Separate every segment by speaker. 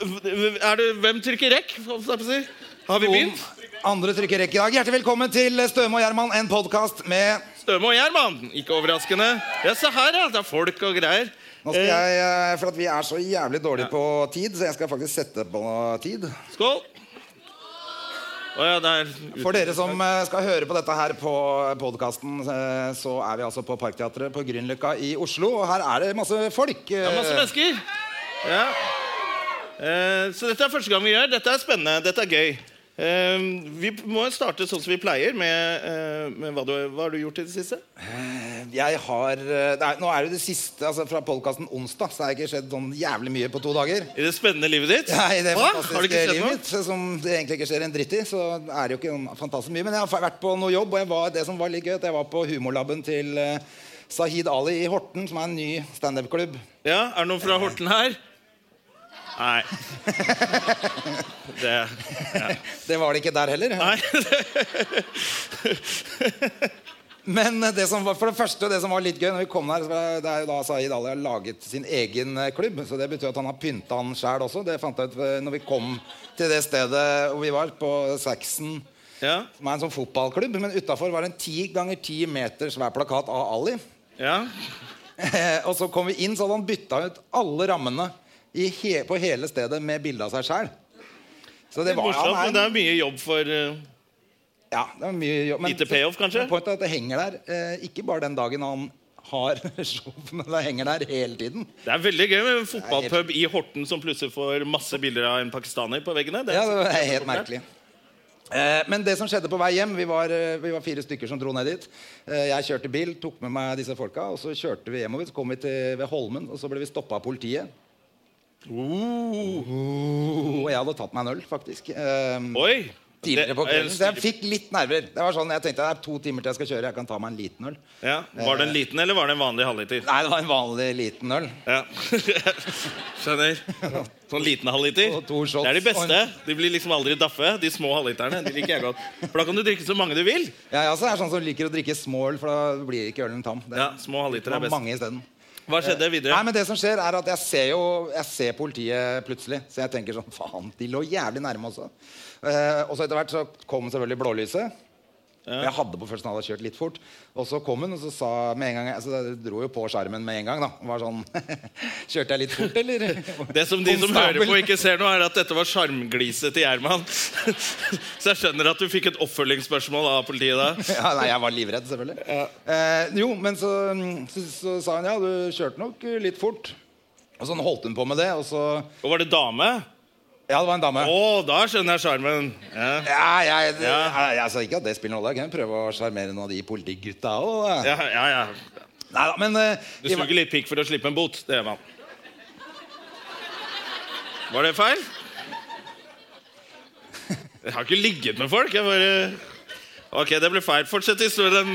Speaker 1: Er det, hvem trykker rekk? holdt jeg på å si? Har vi begynt?
Speaker 2: Andre trykker rekke i dag. Hjertelig velkommen til Støme og Gjerman, en podkast med
Speaker 1: Støme og Gjerman. Ikke overraskende. Ja, se her, ja. Det er folk og greier.
Speaker 2: Nå skal jeg, eh, For at vi er så jævlig dårlige på tid, så jeg skal faktisk sette på tid.
Speaker 1: Skål. Å ja, det er ut-
Speaker 2: For dere som eh, skal høre på dette her på podkasten, så er vi altså på Parkteatret på Grünerløkka i Oslo. Og her er det masse folk.
Speaker 1: det er masse
Speaker 2: eh,
Speaker 1: mennesker. Ja. Eh, Så dette er første gang vi gjør. Dette er spennende. Dette er gøy. Eh, Vi må starte sånn som vi pleier, med, eh, med hva, du, hva har du gjort i det siste?
Speaker 2: Jeg har eh, det er, Nå er det det siste altså fra podkasten onsdag, så har det ikke skjedd sånn jævlig mye på to dager.
Speaker 1: I det spennende livet ditt?
Speaker 2: Nei, det
Speaker 1: Hva? Har du ikke
Speaker 2: fantastiske
Speaker 1: sett
Speaker 2: livet
Speaker 1: noe?
Speaker 2: mitt, som det egentlig ikke skjer en dritt i, så er det jo ikke noe fantastisk mye. Men jeg har vært på noe jobb, og jeg var, det som var litt gøy, at jeg var på humorlaben til eh, Sahid Ali i Horten, som er en ny standup-klubb.
Speaker 1: Ja, Er det noen fra Horten her? Nei. Det
Speaker 2: Det var det ikke der heller.
Speaker 1: Nei.
Speaker 2: Men det som var, for det første, det som var litt gøy når vi kom her, så var det- det er jo da Saeed Ali har laget sin egen eh, klubb. Så det betyr at han har pynta han sjæl også. Det fant jeg ut eh, når vi kom til det stedet hvor vi var, på Saxon.
Speaker 1: Ja.
Speaker 2: Som er en sånn fotballklubb, men utafor var det en ti ganger ti meter svær plakat av Ali.
Speaker 1: ja.
Speaker 2: Eh, og så kom vi inn, så hadde han bytta ut alle rammene i he på hele stedet med bilde av seg sjæl. Så det var
Speaker 1: Morsomt,
Speaker 2: han
Speaker 1: men
Speaker 2: er-
Speaker 1: det er mye jobb for eh,
Speaker 2: ja, det var mye jobb.
Speaker 1: Lite payoff, kanskje?
Speaker 2: Poenget er at det henger der. Eh, ikke bare den dagen han har show, men det henger der hele tiden.
Speaker 1: Det er veldig gøy med en fotballpub i Horten som plutselig får masse bilder av en pakistaner på veggene. Det
Speaker 2: Ja,
Speaker 1: er
Speaker 2: det er helt merkelig. Eh, men det som skjedde på vei hjem Vi var, eh, vi var fire stykker som dro ned dit. Eh, jeg kjørte bil, tok med meg disse folka, og så kjørte vi hjemover. Så kom vi til, ved Holmen, og så ble vi stoppa av politiet.
Speaker 1: oh.
Speaker 2: Og jeg hadde tatt meg en øl, faktisk. Eh,
Speaker 1: Oi!
Speaker 2: tidligere på
Speaker 1: Det-
Speaker 2: kvelden. Så
Speaker 1: er
Speaker 2: jeg
Speaker 1: det-
Speaker 2: fikk litt nerver. Det var sånn, Jeg tenkte det er to timer til jeg skal kjøre. Jeg kan ta meg en liten øl.
Speaker 1: ja. Var det en liten, eller var det en vanlig halvliter?
Speaker 2: Nei, det var en vanlig liten øl.
Speaker 1: Ja. Skjønner. Sånn liten halvliter.
Speaker 2: Og to shots.
Speaker 1: Det er de beste. De blir liksom aldri daffe. De små halvliterne. De liker jeg godt. For da kan du drikke så mange du vil.
Speaker 2: Ja, jeg også er sånn som liker å drikke små øl, for da blir ikke ølen tam. Det,
Speaker 1: Ja, små halvliter
Speaker 2: det
Speaker 1: er
Speaker 2: var
Speaker 1: best.
Speaker 2: mange isteden.
Speaker 1: Hva skjedde videre?
Speaker 2: Nei, men det som skjer er at jeg ser jo Jeg ser politiet plutselig. Så jeg tenker sånn Faen, de lå jævlig nærme også. Eh, og så etter hvert så kom selvfølgelig blålyset. Jeg hadde på følelsen at jeg hadde kjørt litt fort. Og så kom hun, og så sa med en gang altså, Det dro jo på skjermen med en gang. da Det Var sånn Kjørte jeg litt fort, eller?
Speaker 1: Det som de som
Speaker 2: Konstabel.
Speaker 1: hører på, ikke ser nå, er at dette var sjarmgliset til Gjerman. Så jeg skjønner at du fikk et oppfølgingsspørsmål av politiet da.
Speaker 2: ja, Nei, jeg var livredd, selvfølgelig. Eh, jo, men så, så, så sa hun ja, du kjørte nok litt fort. Og sånn holdt hun på med det, og så
Speaker 1: Og var det dame?
Speaker 2: Ja, det var en dame.
Speaker 1: Å, da skjønner jeg sjarmen. Ja.
Speaker 2: Ja, jeg, det,
Speaker 1: Ja.
Speaker 2: Jeg, jeg sa ikke at det spiller noen rolle. Jeg kan prøve å sjarmere noen av de politigutta òg.
Speaker 1: Ja, ja, ja.
Speaker 2: Neida, men eh,
Speaker 1: Du
Speaker 2: vi var-
Speaker 1: suger litt pikk for å slippe en bot. Det gjør man. Var det feil? Jeg har ikke ligget med folk. Jeg bare Ok, det ble feil. Fortsett historien.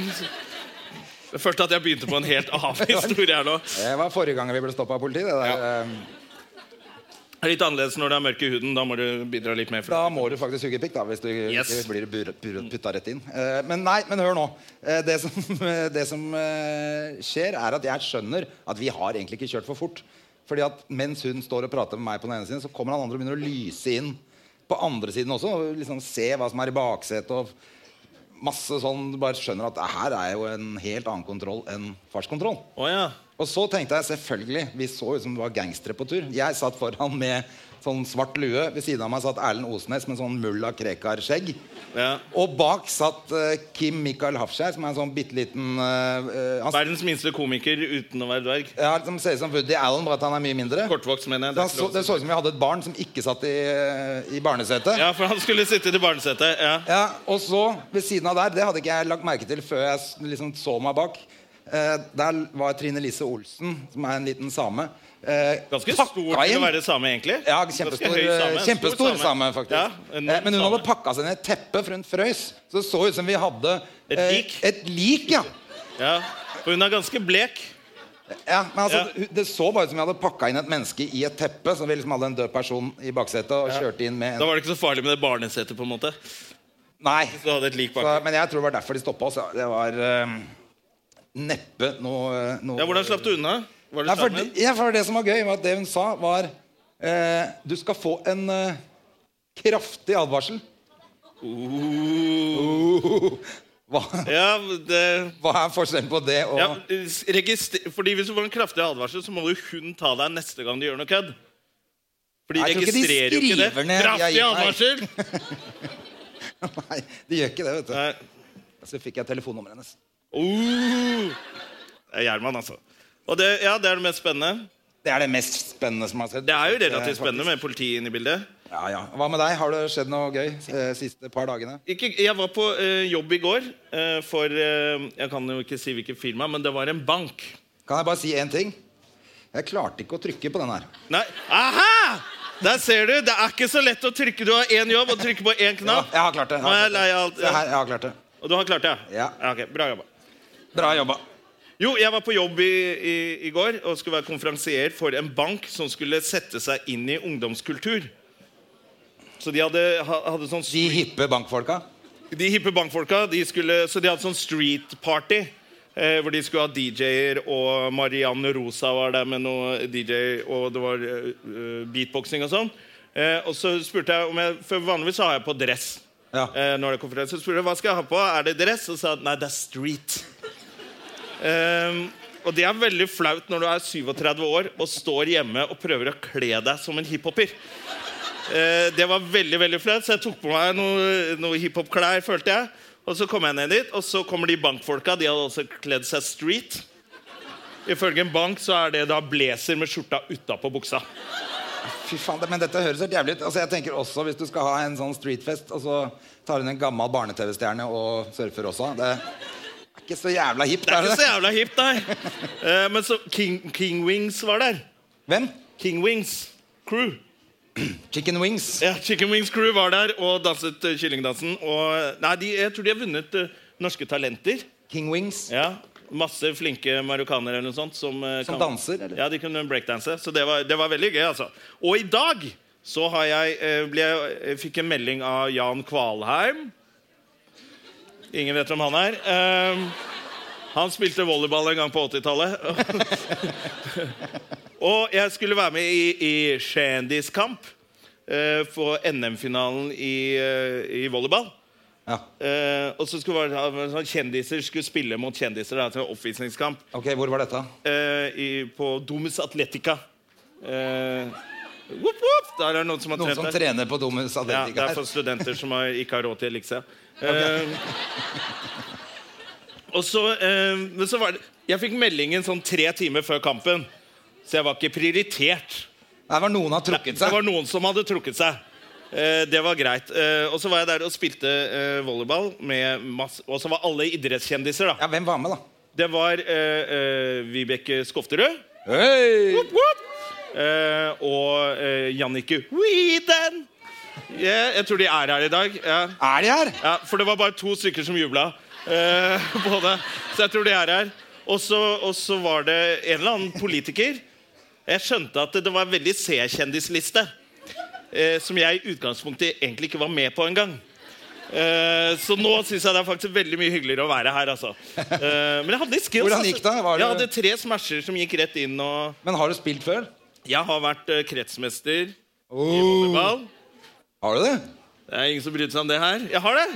Speaker 1: Det første at jeg begynte på en helt annen historie her nå.
Speaker 2: Eh, Det var forrige gang vi ble stoppa av politiet. Det der, eh,
Speaker 1: Det er Litt annerledes når det er mørk i huden. Da må du bidra litt mer.
Speaker 2: Da må du faktisk suge pikk, da, hvis du
Speaker 1: Yes.
Speaker 2: ikke blir bur- bur- putta rett inn. Eh, Men nei, men hør nå. Eh, Det som, det som eh, skjer, er at jeg skjønner at vi har egentlig ikke kjørt for fort. Fordi at mens hun står og prater med meg på den ene siden, så kommer han andre og begynner å lyse inn på andre siden også. Og liksom se hva som er i baksetet og masse sånn. Du bare skjønner at det her er jo en helt annen kontroll enn fartskontroll.
Speaker 1: Å ja.
Speaker 2: Og så tenkte jeg selvfølgelig Vi så ut som det var gangstere på tur. Jeg satt foran med sånn svart lue. Ved siden av meg satt Erlend Osnes med sånn mulla Krekar-skjegg.
Speaker 1: ja.
Speaker 2: Og bak satt eh, Kim Michael Hafskjær, som er en sånn bitte liten eh, eh, Han
Speaker 1: Verdens minste komiker uten å være dverg.
Speaker 2: ja, som ser ut som Woody Allen, bare at han er mye mindre.
Speaker 1: Kortvokst, mener jeg.
Speaker 2: Det
Speaker 1: Det er ikke
Speaker 2: så,
Speaker 1: lov å
Speaker 2: det så ut som vi hadde et barn som ikke satt i, eh, i barnesetet.
Speaker 1: si. Ja, for han skulle sitte i barnesetet. Ja.
Speaker 2: Ja, og så ved siden av der, det hadde ikke jeg lagt merke til før jeg s- liksom så meg bak. Eh, der var Trine Lise Olsen, som er en liten same. Eh,
Speaker 1: Ganske
Speaker 2: pakka
Speaker 1: stor til å
Speaker 2: inn-
Speaker 1: være same, egentlig.
Speaker 2: Ja,
Speaker 1: Ganske
Speaker 2: kjempestor,
Speaker 1: høy same.
Speaker 2: same. kjempestor
Speaker 1: Stor
Speaker 2: same. faktisk.
Speaker 1: Ja,
Speaker 2: eh,
Speaker 1: enorm
Speaker 2: men hun
Speaker 1: same.
Speaker 2: hadde pakka seg ned et teppe, for hun frøs. Så det så ut som vi hadde
Speaker 1: Et
Speaker 2: eh,
Speaker 1: lik?
Speaker 2: Et lik, ja.
Speaker 1: Ja, for hun er ganske blek.
Speaker 2: ja men altså,
Speaker 1: Ja.
Speaker 2: hun- Det så bare ut som vi hadde pakka inn et menneske i et teppe. Så vi liksom hadde en død person i baksetet og kjørte inn med
Speaker 1: Da
Speaker 2: en
Speaker 1: var det ikke så farlig med det barnesetet, på en måte.
Speaker 2: Nei.
Speaker 1: Du hadde et lik bak.
Speaker 2: Så, men jeg tror det var derfor de stoppa oss. ja. Det var eh, neppe noe, noe
Speaker 1: Ja, hvordan slapp du unna? Var det
Speaker 2: Nei, for,
Speaker 1: sammen?
Speaker 2: ja, for det som var gøy, var at det hun sa, var Eh, du skal få en eh, kraftig advarsel.
Speaker 1: Uh.
Speaker 2: Oh. Hva,
Speaker 1: Ja, det
Speaker 2: hva er forskjellen på det og
Speaker 1: ja, s- register, fordi Hvis du får en kraftig advarsel, så må jo hun ta deg neste gang du gjør noe kødd. For de
Speaker 2: Jeg tror ikke de
Speaker 1: registrerer jo ikke det.
Speaker 2: skriver ned-
Speaker 1: Kraftig
Speaker 2: jeg- nei.
Speaker 1: advarsel!
Speaker 2: Nei, de gjør ikke det, vet du.
Speaker 1: Nei.
Speaker 2: Så fikk jeg telefonnummeret hennes.
Speaker 1: Oh. Det er Gjerman, altså. Og det, ja, det er det mest spennende.
Speaker 2: Det er det mest spennende som har skjedd.
Speaker 1: Det er jo
Speaker 2: Eh,
Speaker 1: relativt
Speaker 2: faktisk.
Speaker 1: spennende med politiet inne i bildet.
Speaker 2: Ja, ja. Hva med deg? Har det skjedd noe gøy eh, siste par dagene?
Speaker 1: Ikke, jeg var på eh, jobb i går eh, for eh, Jeg kan jo ikke si hvilket firma, men det var en bank.
Speaker 2: Kan jeg bare si én ting? Jeg klarte ikke å trykke på den her.
Speaker 1: Nei, aha! Der ser du! Det er ikke så lett å trykke. Du har én jobb og trykker på én
Speaker 2: Ja,
Speaker 1: knapp.
Speaker 2: jeg har klart det.
Speaker 1: Nå er jeg lei av alt.
Speaker 2: Se her, jeg har klart det.
Speaker 1: Og du har klart det?
Speaker 2: Ja.
Speaker 1: ok, Bra jobba.
Speaker 2: Bra jobba.
Speaker 1: Jo, jeg var på jobb i, i, i går og skulle være konferansier for en bank som skulle sette seg inn i ungdomskultur. Så de hadde, ha- hadde sånn
Speaker 2: De hippe bankfolka.
Speaker 1: De hippe bankfolka, de skulle, så de hadde sånn street party. Eh, hvor de skulle ha DJ-er, og Marianne Rosa var der med noe DJ, og det var eh, eh, beatboxing og sånn. Eh, og så spurte jeg om jeg For vanligvis har jeg på dress.
Speaker 2: Ja.
Speaker 1: Eh, når det er konferanse, så spurte jeg hva skal jeg ha på. Er det dress? Og sa jeg, nei, det er street. Ehm, og det er veldig flaut når du er 37 år og står hjemme og prøver å kle deg som en hiphoper. Eh, det var veldig veldig flaut, så jeg tok på meg noe, noe hiphop-klær, følte jeg. Og så kom jeg ned dit, og så kommer de bankfolka. De hadde også kledd seg street. Ifølge en bank så er det da blazer med skjorta utapå buksa.
Speaker 2: Fy faen, det- men dette høres helt jævlig ut. Altså, jeg tenker også Hvis du skal ha en sånn streetfest, og så tar hun en gammel barne-TV-stjerne og surfer også Det er ikke så jævla hipt,
Speaker 1: Det er
Speaker 2: er
Speaker 1: ikke så
Speaker 2: det det?
Speaker 1: jævla hipt, nei. Eh, men så King, King Wings var der.
Speaker 2: Hvem?
Speaker 1: King Wings Crew.
Speaker 2: Chicken Wings.
Speaker 1: Ja, Chicken Wings Crew var der og danset eh, kyllingdansen. Og, nei, de, jeg tror de har vunnet eh, Norske Talenter.
Speaker 2: King Wings.
Speaker 1: Ja, Masse flinke marokkanere eller noe sånt. Som, eh,
Speaker 2: Som
Speaker 1: kan-
Speaker 2: danser, eller?
Speaker 1: Ja, de kunne breakdanse. Så det var, det var veldig gøy, altså. Og i dag så har jeg, eh, ble, jeg fikk en melding av Jan Kvalheim. Ingen vet hvem han er. Eh, han spilte volleyball en gang på 80-tallet. Og jeg skulle være med i, i Shandys kamp eh, for NM-finalen i, eh, i volleyball.
Speaker 2: Ja.
Speaker 1: Eh, og så skulle det være, sånn, Kjendiser skulle spille mot kjendiser. Da, til en oppvisningskamp
Speaker 2: Ok, hvor var dette?
Speaker 1: eh, i, på Domus Atletica. Eh, whoop, whoop, der er det noen som har
Speaker 2: Noen som
Speaker 1: trent der.
Speaker 2: trener på Domus
Speaker 1: Ja, det
Speaker 2: Atletica
Speaker 1: er
Speaker 2: her.
Speaker 1: for studenter som har, ikke har råd til Elixia. Eh, og så, eh, men så var det Jeg fikk meldingen sånn tre timer før kampen, så jeg var ikke prioritert.
Speaker 2: Her var noen har trukket
Speaker 1: Det
Speaker 2: seg.
Speaker 1: var noen som hadde trukket seg. Eh, det var greit. Eh, og så var jeg der og spilte eh, volleyball med masse Og så var alle idrettskjendiser, da.
Speaker 2: Ja, hvem var med, da?
Speaker 1: Det var eh, eh, Vibeke Skofterud.
Speaker 2: Hei!
Speaker 1: Woop, woop. Eh, og eh, Jannicke Weeden. Yeah, jeg tror de er her i dag. Ja.
Speaker 2: Er de her?
Speaker 1: Ja, for det var bare to stykker som jubla eh, på det. Så jeg tror de er her. Og så og så var det en eller annen politiker. Jeg skjønte at det var en veldig C-kjendisliste. Eh, som jeg i utgangspunktet egentlig ikke var med på engang. Eh, så nå syns jeg det er faktisk veldig mye hyggeligere å være her, altså. Eh, men jeg hadde litt skills.
Speaker 2: Hvordan gikk det? Var
Speaker 1: Jeg
Speaker 2: det-
Speaker 1: hadde tre smasher som gikk rett inn og
Speaker 2: Men har du spilt før?
Speaker 1: Jeg har vært eh, kretsmester i
Speaker 2: Oh.
Speaker 1: volleyball.
Speaker 2: Har du det?
Speaker 1: Det er ingen som brydde seg om det her. Jeg har det!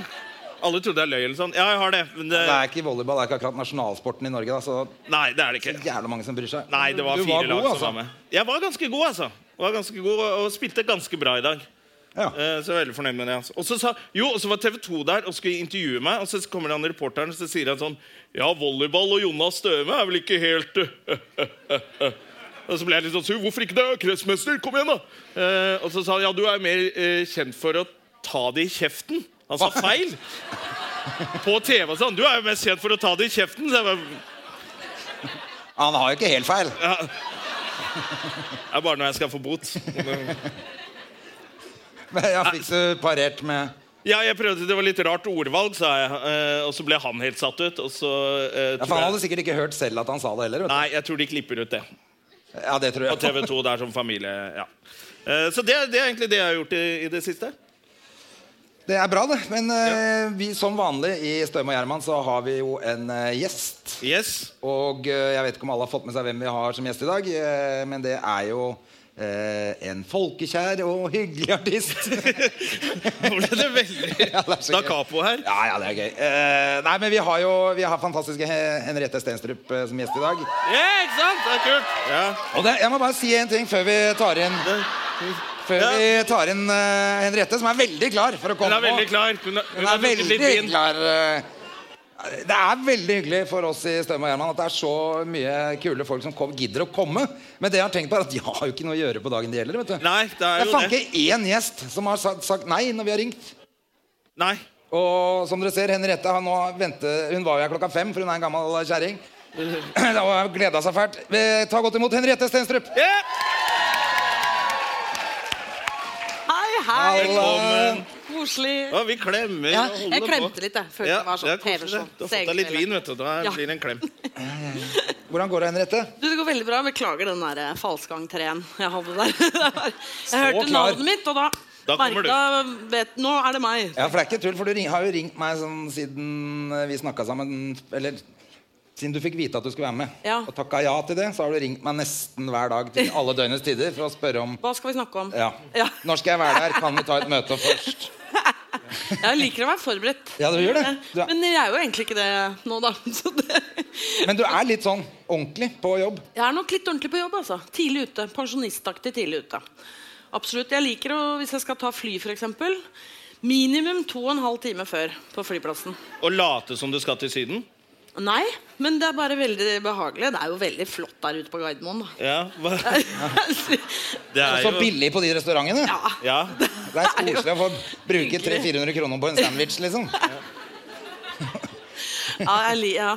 Speaker 1: Alle trodde jeg løy eller sånn. Ja, jeg har det. Men det,
Speaker 2: Det er ikke volleyball, det er ikke akkurat nasjonalsporten i Norge, da, så
Speaker 1: nei, det er det ikke.
Speaker 2: jævla mange som bryr seg.
Speaker 1: Nei, det var
Speaker 2: Du
Speaker 1: fire lag
Speaker 2: god, altså.
Speaker 1: som var med. Jeg var ganske god, altså. Var ganske god og- og spilte ganske bra i dag.
Speaker 2: Ja.
Speaker 1: Eh, Så jeg er veldig fornøyd med det. Altså. Og så sa, jo, og så var TV 2 der og skulle intervjue meg, og så kommer han reporteren og så sier han sånn Ja, volleyball og Jonas Støme er vel ikke helt eh, Og så ble jeg litt sånn sur. Hvorfor ikke det? Kretsmester, kom igjen, da! Eh, og så sa han ja, du er mer eh, kjent for å ta det i kjeften. Han sa feil. På TV og sånn. Du er jo mest kjent for å ta det i kjeften. Så jeg bare,
Speaker 2: Han har jo ikke helt feil.
Speaker 1: det er bare når jeg skal få bot.
Speaker 2: Men jeg fikk så parert med
Speaker 1: Ja, jeg prøvde, Det var litt rart ordvalg, sa jeg. eh, og så ble han helt satt ut. Og så eh,
Speaker 2: ja,
Speaker 1: tror
Speaker 2: For han
Speaker 1: jeg-
Speaker 2: hadde sikkert ikke hørt selv at han sa det heller. Vet du.
Speaker 1: Nei, jeg tror de klipper ut det.
Speaker 2: Ja, det tror
Speaker 1: På
Speaker 2: jeg.
Speaker 1: TV 2 der som familie. ja. Eh, Så det, er- det er egentlig det jeg har gjort i, i det siste.
Speaker 2: Det er bra, det. Men eh, vi, som vanlig i Støme og Gjerman så har vi jo en eh, gjest.
Speaker 1: Yes.
Speaker 2: Og eh, jeg vet ikke om alle har fått med seg hvem vi har som gjest i dag, eh, men det er jo eh, en folkekjær og hyggelig artist.
Speaker 1: Nå ble det veldig
Speaker 2: Ja, det er så
Speaker 1: da
Speaker 2: gøy.
Speaker 1: capo her.
Speaker 2: Ja, ja, det er gøy. Eh, nei, men vi har jo vi har fantastiske He- Henriette Stenstrup eh, som gjest i dag.
Speaker 1: Ja, ikke sant? Det er kult. Ja.
Speaker 2: Og det, jeg må bare si en ting før vi tar inn Før
Speaker 1: Ja.
Speaker 2: vi tar inn eh, Henriette, som er veldig klar for å
Speaker 1: Hun
Speaker 2: komme
Speaker 1: er veldig
Speaker 2: på.
Speaker 1: klar. Hun har- hun
Speaker 2: Hun
Speaker 1: har
Speaker 2: er
Speaker 1: drukket
Speaker 2: veldig
Speaker 1: litt vin.
Speaker 2: klar. eh. Det er veldig hyggelig for oss i Støm og Gjerman at det er så mye kule folk som kom, gidder å komme. Men det jeg har tenkt på er at de har jo ikke noe å gjøre på dagen de gjelder. vet du.
Speaker 1: Nei, det er
Speaker 2: Jeg
Speaker 1: jo
Speaker 2: fant
Speaker 1: det.
Speaker 2: ikke én gjest som har sagt, sagt nei når vi har ringt.
Speaker 1: Nei.
Speaker 2: Og som dere ser, Henriette har nå ventet, hun var jo her klokka fem, for hun er en gammel kjerring. Og gleda seg fælt. Eh, Ta godt imot Henriette Stenstrup.
Speaker 1: Ja.
Speaker 3: Hei, hei!
Speaker 1: Velkommen.
Speaker 3: Koselig.
Speaker 1: Ja, vi klemmer
Speaker 3: Ja,
Speaker 1: og holder
Speaker 3: jeg klemte
Speaker 1: på.
Speaker 3: litt, jeg. Følte det var sånn
Speaker 1: det er koselig.
Speaker 3: heversånn.
Speaker 1: Du har fått deg litt vin, vet du. Da
Speaker 3: Ja.
Speaker 1: blir det en klem.
Speaker 2: Hvordan går det, Henriette?
Speaker 3: Du, Det går veldig bra. Beklager den der eh, falske entreen jeg hadde der. Jeg hørte
Speaker 2: klar.
Speaker 3: navnet mitt, og da,
Speaker 1: Da kommer du.
Speaker 3: merket- vet, Nå er det meg.
Speaker 2: Ja, for det er ikke tull, for du ring, har jo ringt meg sånn siden eh, vi snakka sammen Eller siden du fikk vite at du skulle være med.
Speaker 3: Ja.
Speaker 2: Og takka ja til det, så har du ringt meg nesten hver dag til alle døgnets tider for å spørre om
Speaker 3: Hva skal vi snakke om?
Speaker 2: ja.
Speaker 3: Ja.
Speaker 2: Når skal jeg være der? Kan vi ta et møte først?
Speaker 3: Jeg liker å være forberedt.
Speaker 2: Ja, du gjør det. Du er,
Speaker 3: Men jeg er jo egentlig ikke det nå, da. Så det.
Speaker 2: men du er litt sånn ordentlig på jobb.
Speaker 3: Jeg er nok litt ordentlig på jobb, altså. Tidlig ute. Pensjonistaktig tidlig ute. Absolutt. Jeg liker å, hvis jeg skal ta fly, f.eks., minimum to og en halv time før på flyplassen.
Speaker 1: Og late som du skal til Syden?
Speaker 3: Nei, men det er bare veldig behagelig. Det er jo veldig flott der ute på Gardermoen. da.
Speaker 1: Ja. Hva? Det
Speaker 2: Og
Speaker 1: er
Speaker 2: så
Speaker 1: jo
Speaker 2: billig på de restaurantene.
Speaker 3: Ja.
Speaker 1: Ja.
Speaker 2: Det er koselig å få bruke 300-400 kroner på en sandwich, liksom.
Speaker 3: Ja, jeg li ja.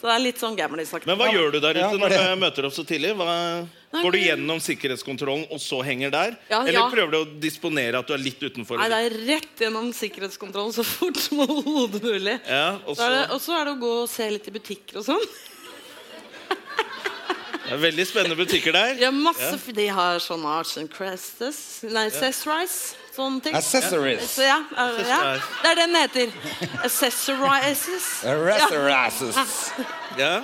Speaker 3: Så det er litt sånn gamlisaktig.
Speaker 1: Men hva gjør du der
Speaker 2: Ja,
Speaker 1: ute
Speaker 2: var
Speaker 1: når
Speaker 2: det-
Speaker 1: du møter opp så tidlig? Hva...
Speaker 3: Nei,
Speaker 1: Går du
Speaker 3: men-
Speaker 1: gjennom sikkerhetskontrollen og så henger der?
Speaker 3: Ja,
Speaker 1: Eller
Speaker 3: ja.
Speaker 1: prøver du å disponere at du er litt utenfor?
Speaker 3: Nei, det er rett gjennom sikkerhetskontrollen så fort som overhodet mulig.
Speaker 1: Ja, og
Speaker 3: Så er det-
Speaker 1: så-
Speaker 3: Og så er det å gå og se litt i butikker og sånn.
Speaker 1: Det er veldig spennende butikker der.
Speaker 3: De har masse, de har sånn Arts and Crafts Nei, Accessorize. Sånne ting.
Speaker 2: Accessories.
Speaker 3: Så ja, eh, ja, det er det den heter. Accessorizes.
Speaker 2: Razzarasses.
Speaker 1: Ja.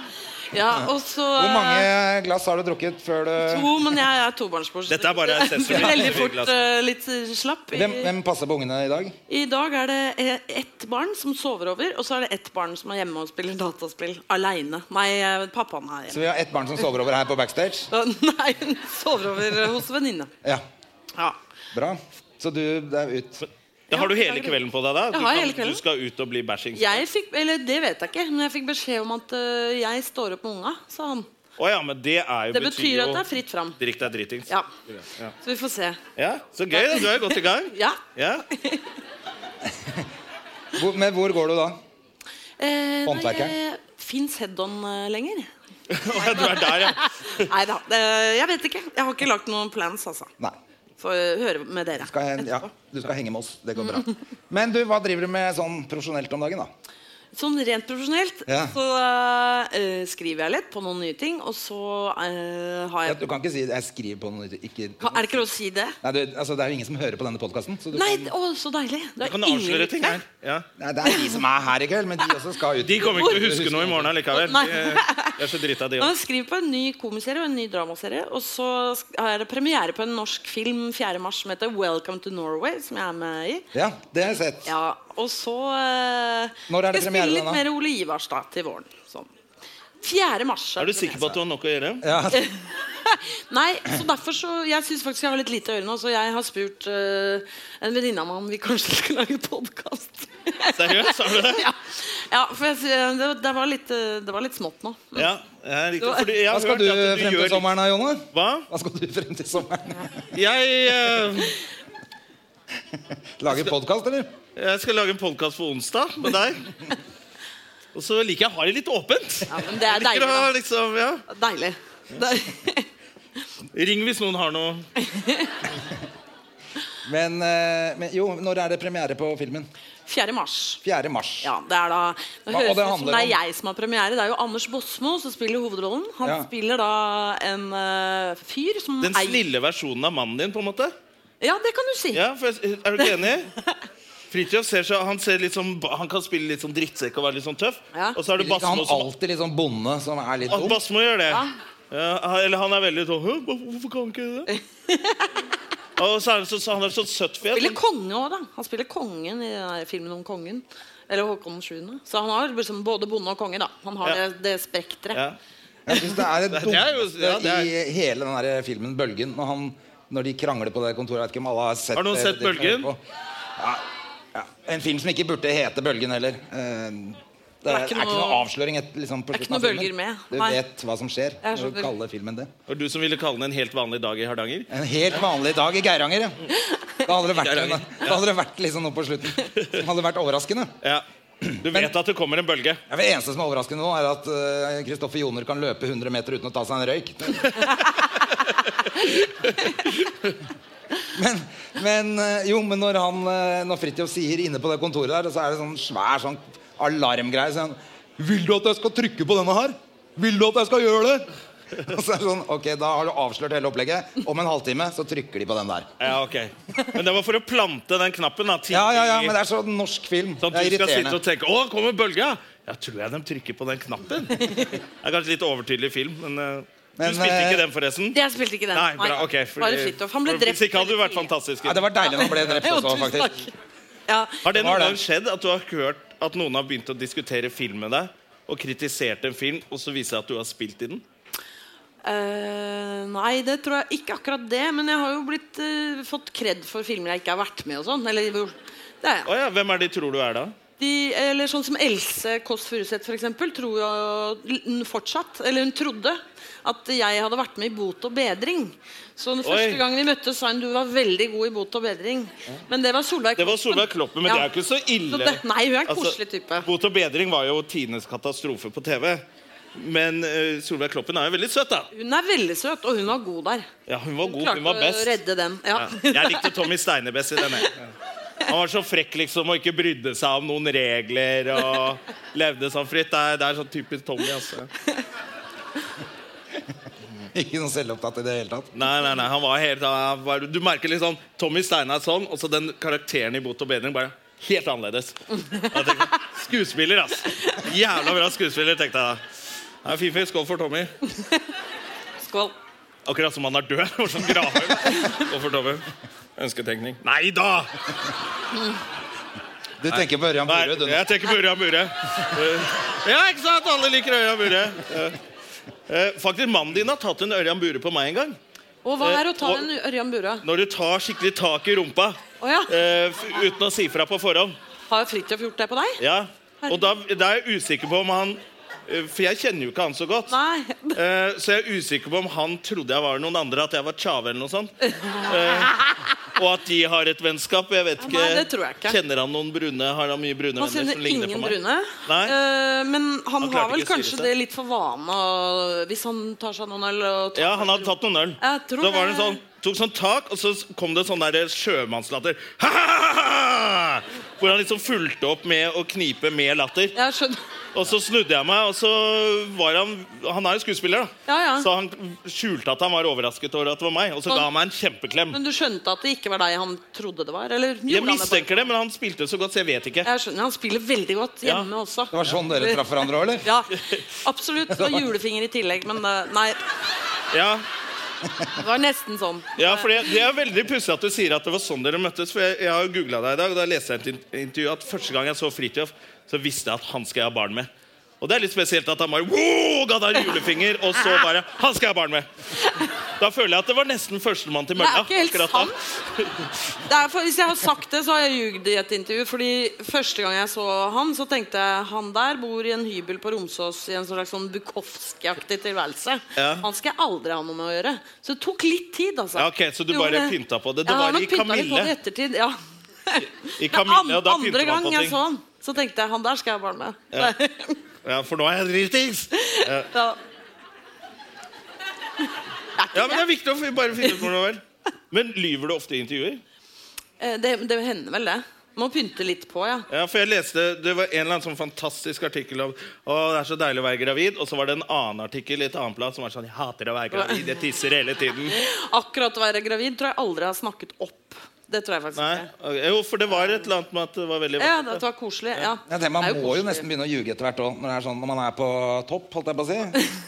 Speaker 3: Ja, og så eh,
Speaker 2: Hvor mange glass har du drukket før du
Speaker 3: To, men jeg er tobarnsmor. så
Speaker 1: Dette er bare
Speaker 3: det-
Speaker 1: accessory.
Speaker 3: Veldig fort
Speaker 1: altså.
Speaker 3: eh, litt eh, slapp. I,
Speaker 2: hvem, hvem passer på ungene i dag?
Speaker 3: I dag er det eh, ett barn som sover over, og så er det ett barn som er hjemme og spiller dataspill aleine. Nei, eh, pappaen er hjemme.
Speaker 2: Så vi har ett barn som sover over her på backstage.
Speaker 3: Nei, hun sover over eh, hos venninne.
Speaker 2: Ja,
Speaker 3: Ja.
Speaker 2: bra. Så du det er ut.
Speaker 1: Da har du hele
Speaker 3: det er
Speaker 1: kvelden på deg, da? Du,
Speaker 3: Jeg har hele kvelden.
Speaker 1: du skal ut og bli bashing. Å
Speaker 3: Jeg fikk, eller det vet jeg ikke, men jeg fikk beskjed om at eh, jeg står opp med unga, sa han.
Speaker 1: ja, men det er jo
Speaker 3: Det betyr
Speaker 1: jo-
Speaker 3: at det er fritt fram.
Speaker 1: Drikk deg dritings.
Speaker 3: Ja. Så vi får se.
Speaker 1: Ja, Så gøy, da. Du er jo godt i gang.
Speaker 3: Ja.
Speaker 1: Ja.
Speaker 2: Hvor, men hvor går du da?
Speaker 3: Eh,
Speaker 2: Håndverkeren?
Speaker 3: Fins head-on eh, lenger?
Speaker 1: Å, Du er der, ja.
Speaker 3: Nei da. Jeg vet ikke. Jeg har ikke lagt noen plans, altså.
Speaker 2: Nei.
Speaker 3: Får eh, høre med dere.
Speaker 2: Skal jeg, ja, du skal henge med oss. Det går bra. Men du, hva driver du med sånn profesjonelt om dagen, da?
Speaker 3: Sånn rent profesjonelt
Speaker 2: Ja.
Speaker 3: så eh, skriver jeg litt på noen nye ting, og så eh, har
Speaker 2: Ja,
Speaker 3: jeg
Speaker 2: Du kan ikke si 'jeg skriver på noe ikke
Speaker 3: Ka- Er det ikke lov å si det?
Speaker 2: Nei, du, altså, Det er jo ingen som hører på denne podkasten.
Speaker 3: Nei, å, så deilig. Det
Speaker 1: Du kan avsløre ting her. Ja.
Speaker 2: Nei, det er de som er her i kveld, men de også skal ut.
Speaker 1: De kommer ikke til å huske noe i morgen allikevel.
Speaker 3: Nei.
Speaker 1: De de er så drita, de
Speaker 3: Nå
Speaker 1: òg.
Speaker 3: skriver på en ny komiserie og en ny dramaserie. Og så sk- har jeg premiere på en norsk film 4. mars som heter 'Welcome to Norway'. Som jeg er med i.
Speaker 2: Ja, det har jeg sett.
Speaker 3: Ja, Og så eh,
Speaker 2: Når er det
Speaker 3: skal jeg
Speaker 2: premiere,
Speaker 3: spille litt
Speaker 2: da?
Speaker 3: mer Ole Ivars da, til våren. Sånn. 4. mars.
Speaker 1: Er du sikker på at du har nok å gjøre?
Speaker 2: Ja,
Speaker 3: Nei, så derfor så Jeg syns faktisk jeg har litt lite å gjøre nå, så jeg har spurt eh, en venninne av meg om vi kanskje skulle lage podkast.
Speaker 1: Seriøst, har du det?
Speaker 3: ja. ja, for jeg, sy- det, det, var litt, eh, det var litt smått nå.
Speaker 1: Ja, jeg er riktig. Fordi jeg
Speaker 2: Hva
Speaker 1: har
Speaker 2: skal
Speaker 1: hørt
Speaker 2: du
Speaker 1: at du
Speaker 2: frem til
Speaker 1: gjør
Speaker 2: sommeren da, Jonne?
Speaker 1: Hva?
Speaker 2: Hva skal du frem til sommeren?
Speaker 1: Jeg, eh,
Speaker 2: Lage podkast, eller?
Speaker 1: jeg skal lage en podkast på onsdag med deg. Og så liker jeg å ha det litt åpent.
Speaker 3: Ja, men det er
Speaker 1: Liker
Speaker 3: deilig.
Speaker 1: å ha liksom, ja.
Speaker 3: da. Deilig. Det-
Speaker 1: Ring hvis noen har noe.
Speaker 2: Men, eh, men jo, når er det premiere på filmen?
Speaker 3: 4. mars.
Speaker 2: 4. mars.
Speaker 3: Ja, det er da Nå
Speaker 2: Hva- og det
Speaker 3: høres det ut som
Speaker 2: handler
Speaker 3: det er
Speaker 2: om-
Speaker 3: jeg som har premiere. Det er jo Anders Båsmo som spiller hovedrollen. Han
Speaker 2: Ja.
Speaker 3: spiller da en eh, fyr som
Speaker 1: Den snille versjonen av mannen din, på en måte.
Speaker 3: Ja, det kan du si.
Speaker 1: Ja, for jeg, Er du ikke enig? Fridtjof ser så, han, ser litt sånn- han kan spille litt sånn drittsekk og være litt sånn tøff.
Speaker 3: Ja.
Speaker 1: Og så er det
Speaker 2: Spiller ikke
Speaker 1: Basmo
Speaker 2: han
Speaker 1: som
Speaker 2: alltid litt sånn bonde som er litt
Speaker 1: At
Speaker 2: dum?
Speaker 1: Basmo gjør det.
Speaker 3: Ja.
Speaker 1: Ja, han- eller han er veldig sånn «Hæ, hvor- Hvorfor kan han ikke det? Og så er han, så, så han er sånn søtt fjes.
Speaker 3: Spiller konge òg, da. Han spiller kongen i den der filmen om kongen. Eller Håkon 7. Så han har liksom både bonde og konge. da Han har
Speaker 1: Ja.
Speaker 3: det, det spekteret.
Speaker 1: Ja.
Speaker 2: Jeg synes det er det
Speaker 1: Det er jo-
Speaker 2: dummeste
Speaker 1: ja, det er-
Speaker 2: i hele den der filmen Bølgen. Når, han, når de krangler på det kontoret. Jeg vet ikke om alle Har sett
Speaker 1: Har noen
Speaker 2: det-
Speaker 1: sett
Speaker 2: det-
Speaker 1: Bølgen?
Speaker 2: på. Ja, ja. En film som ikke burde hete Bølgen heller. Eh, Det er,
Speaker 3: er ikke
Speaker 2: ikke
Speaker 3: noe-
Speaker 2: noe avsløring. Et, liksom, på
Speaker 3: Det er ikke
Speaker 2: slutten av
Speaker 3: noe
Speaker 2: filmen.
Speaker 3: bølger med.
Speaker 2: Du
Speaker 3: Nei.
Speaker 2: vet hva som skjønner.
Speaker 3: Jeg
Speaker 2: når du
Speaker 3: skjønner.
Speaker 2: kaller filmen det.
Speaker 1: Og du som ville kalle den en helt vanlig dag i Hardanger?
Speaker 2: En helt vanlig dag i Geiranger. ja. Da hadde det vært,
Speaker 1: Geiranger,
Speaker 2: da hadde det vært liksom noe på slutten som hadde vært overraskende.
Speaker 1: Ja. Du vet at det kommer en bølge.
Speaker 2: Ja, Det eneste som er overraskende nå, er at eh, Kristoffer Joner kan løpe 100 meter uten å ta seg en røyk. men men eh, jo, men når, han, eh, når Fridtjof sier inne på det kontoret der, så er det sånn svær sånn alarmgreie. Sånn, 'Vil du at jeg skal trykke på denne her? Vil du at jeg skal gjøre det?' Og så er det sånn, ok, Da har du avslørt hele opplegget. Om en halvtime så trykker de på den der.
Speaker 1: Ja, ok Men det var for å plante den knappen. da
Speaker 2: Ja, ja, ja,
Speaker 1: tidlig.
Speaker 2: men det er så norsk film.
Speaker 1: Sånn
Speaker 2: det
Speaker 1: at
Speaker 2: er
Speaker 1: du skal sitte
Speaker 2: irriterende.
Speaker 1: og tenke 'Å, kommer bølga?' Ja, tror jeg de trykker på den knappen. Det er kanskje litt overtydelig film, men, eh,
Speaker 2: Men,
Speaker 1: Du spilte
Speaker 2: eh,
Speaker 1: ikke den, forresten?
Speaker 3: Jeg spilte ikke den.
Speaker 1: Nei, bra, ok fordi-
Speaker 3: Bare Fridtjof. Han ble
Speaker 1: for-
Speaker 3: drept.
Speaker 1: Hvis ikke hadde du
Speaker 3: veldig
Speaker 1: vært
Speaker 3: tidlig.
Speaker 1: fantastisk.
Speaker 2: Ja, det var deilig når han ble drept
Speaker 3: Jo,
Speaker 2: også,
Speaker 3: tusen
Speaker 2: faktisk.
Speaker 3: takk. Ja.
Speaker 1: Har det
Speaker 2: Det var
Speaker 1: noen
Speaker 2: det.
Speaker 1: gang skjedd at du har hørt at noen har begynt å diskutere film med deg, og kritisert en film, og så viser det at du har spilt i den?
Speaker 3: Eh, nei, det tror jeg ikke akkurat det. Men jeg har jo blitt eh, fått kred for filmer jeg ikke har vært med og sånn. Eller hvor- det er jeg.
Speaker 1: Å ja, hvem er de tror du er da?
Speaker 3: De, eller sånn som Else Kåss Furuseth f.eks. tror jo hun fortsatt, eller hun trodde, at jeg hadde vært med i Bot og bedring. Så den
Speaker 1: Oi.
Speaker 3: første gang vi møttes, sa hun du var veldig god i Bot og bedring. Men det var Solveig
Speaker 1: Det var Solveig Kloppen, men det er jo ikke så ille.
Speaker 3: Så det- nei, hun er en
Speaker 1: Altså,
Speaker 3: koselig type.
Speaker 1: Bot og bedring var jo tidenes katastrofe på TV. Men eh, Solveig Kloppen er jo veldig søt, da.
Speaker 3: Hun er veldig søt, og hun var god der.
Speaker 1: Ja, Hun var god,
Speaker 3: Klarte
Speaker 1: hun var best.
Speaker 3: å redde den. Ja.
Speaker 1: Ja. Jeg likte Tommy Steine best i denne. Han var så frekk liksom og ikke brydde seg om noen regler og levde sånn fritt. Det er, det er sånn typisk Tommy. altså.
Speaker 2: Ikke noe selvopptatt i det hele tatt.
Speaker 1: Nei, nei, nei, han var helt han var, Du merker litt sånn Tommy Steine er sånn, og så den karakteren i Bot og bedring bare helt annerledes. Da tenkte jeg, Skuespiller, ass. Jævla bra skuespiller, tenkte jeg da. Det er en fin fyr. Skål for Tommy.
Speaker 3: Skål.
Speaker 1: Akkurat som han er død. og Sånn gravhaug. Skål for Tommy. Ønsketenkning. Nei da!
Speaker 2: Du tenker på Ørjan Burud.
Speaker 1: Nei,
Speaker 2: du nå.
Speaker 1: jeg tenker på Ørjan Bure. Eh, Ja, ikke sant? Alle liker Ørjan Bure. Eh, eh, Faktisk, Mannen din har tatt en Ørjan Bure på meg en gang.
Speaker 3: Og hva
Speaker 1: Eh,
Speaker 3: er å ta
Speaker 1: og-
Speaker 3: en Ørjan Burøe?
Speaker 1: Når du tar skikkelig tak i rumpa
Speaker 3: Å ja.
Speaker 1: eh, f- uten å si fra på forhånd.
Speaker 3: Har Fridtjof gjort det på deg?
Speaker 1: Ja. Og da, da er jeg usikker på om han eh, For jeg kjenner jo ikke han så godt.
Speaker 3: Nei.
Speaker 1: Eh, Så jeg er usikker på om han trodde jeg var noen andre, at jeg var Tjave eller noe sånt. Eh, Og at de har et vennskap. Jeg vet ikke.
Speaker 3: Nei, det tror jeg ikke.
Speaker 1: Kjenner han noen brune? Har han mye brune
Speaker 3: Han
Speaker 1: venner som
Speaker 3: kjenner
Speaker 1: ligner
Speaker 3: ingen
Speaker 1: på meg?
Speaker 3: brune.
Speaker 1: Nei.
Speaker 3: Eh, men han,
Speaker 1: Han klarte
Speaker 3: har vel
Speaker 1: ikke å styre
Speaker 3: kanskje
Speaker 1: seg.
Speaker 3: det litt for vane å- hvis han tar seg noen øl og tar
Speaker 1: Ja, han hadde tatt noen øl.
Speaker 3: Jeg tror
Speaker 1: Da var det
Speaker 3: det.
Speaker 1: sånn, tok sånn tak, og så kom det sånn der sjømannslatter. Ha-ha-ha-ha! Hvor han liksom fulgte opp med å knipe med latter.
Speaker 3: Jeg skjønner.
Speaker 1: Og så snudde jeg meg, og så var han Han er jo skuespiller, da.
Speaker 3: Ja, ja.
Speaker 1: Så han skjulte at han var overrasket over at det var meg, og så ga han meg en kjempeklem.
Speaker 3: Men du skjønte at det ikke var deg han trodde det var? Eller gjorde
Speaker 1: Jeg
Speaker 3: han det bare?
Speaker 1: mistenker det, men han spilte så godt, så jeg vet ikke.
Speaker 3: Jeg skjønner, Han spiller veldig godt
Speaker 1: Ja.
Speaker 3: hjemme også. Eh,
Speaker 2: Det var sånn dere traff hverandre òg, eller?
Speaker 3: Ja, absolutt. Og julefinger i tillegg, men eh, nei.
Speaker 1: Ja,
Speaker 3: Det var nesten sånn.
Speaker 1: ja for det, det er veldig pussig at du sier at det var sånn dere møttes, for jeg, jeg har jo googla deg i dag, og da leste jeg et in- intervju at første gang jeg så Fridtjof, så visste jeg at han skal jeg ha barn med. Og det er litt spesielt at han bare wow, ga deg en julefinger, og så bare Han skal jeg ha barn med! Da føler jeg at det var nesten førstemann til
Speaker 3: Det er
Speaker 1: mølla.
Speaker 3: ikke helt
Speaker 1: akkurat da.
Speaker 3: sant. Det er for, hvis jeg har sagt det, så har jeg ljugd i et intervju. Fordi Første gang jeg så han, så tenkte jeg han der bor i en hybel på Romsås i en slags sånn Bukowski-aktig tilværelse.
Speaker 1: Ja.
Speaker 3: Han skal jeg aldri ha noe med å gjøre. Så det tok litt tid, altså.
Speaker 1: Ja, ok, så du
Speaker 3: Jo,
Speaker 1: bare
Speaker 3: det-
Speaker 1: pynta på det. Det
Speaker 3: ja,
Speaker 1: var
Speaker 3: men
Speaker 1: i
Speaker 3: pynta
Speaker 1: Kamille.
Speaker 3: litt på det i ettertid, ja.
Speaker 1: I Kamille,
Speaker 3: Men
Speaker 1: og da pynter
Speaker 3: andre
Speaker 1: man på
Speaker 3: gang jeg
Speaker 1: ting.
Speaker 3: så han, så tenkte jeg han der skal jeg ha barn med.
Speaker 1: Ja, for nå er jeg dritings!
Speaker 3: Ja.
Speaker 1: Ja, men det er viktig å fi- bare finne ut hvor det var. Men lyver du ofte i intervjuer?
Speaker 3: Eh, Det, det hender vel det. Må pynte litt på, ja.
Speaker 1: Ja, for jeg leste, Det var en eller annen sånn fantastisk artikkel om å, det er så deilig å være gravid. Og så var det en annen artikkel i et annet plass som var sånn Jeg hater å være gravid. Jeg tisser hele tiden.
Speaker 3: Akkurat å være gravid tror jeg aldri jeg har snakket opp. Det tror jeg faktisk
Speaker 1: Nei?
Speaker 3: ikke.
Speaker 1: Ok, Jo, for det var et eller annet med at det var veldig
Speaker 3: Ja, det var koselig. Ja.
Speaker 2: Jeg tenker, man
Speaker 3: Det
Speaker 2: må
Speaker 3: er
Speaker 2: jo
Speaker 3: koselig.
Speaker 2: nesten begynne å ljuge etter hvert også, når, det er sånn, når man er på topp. holdt jeg på å si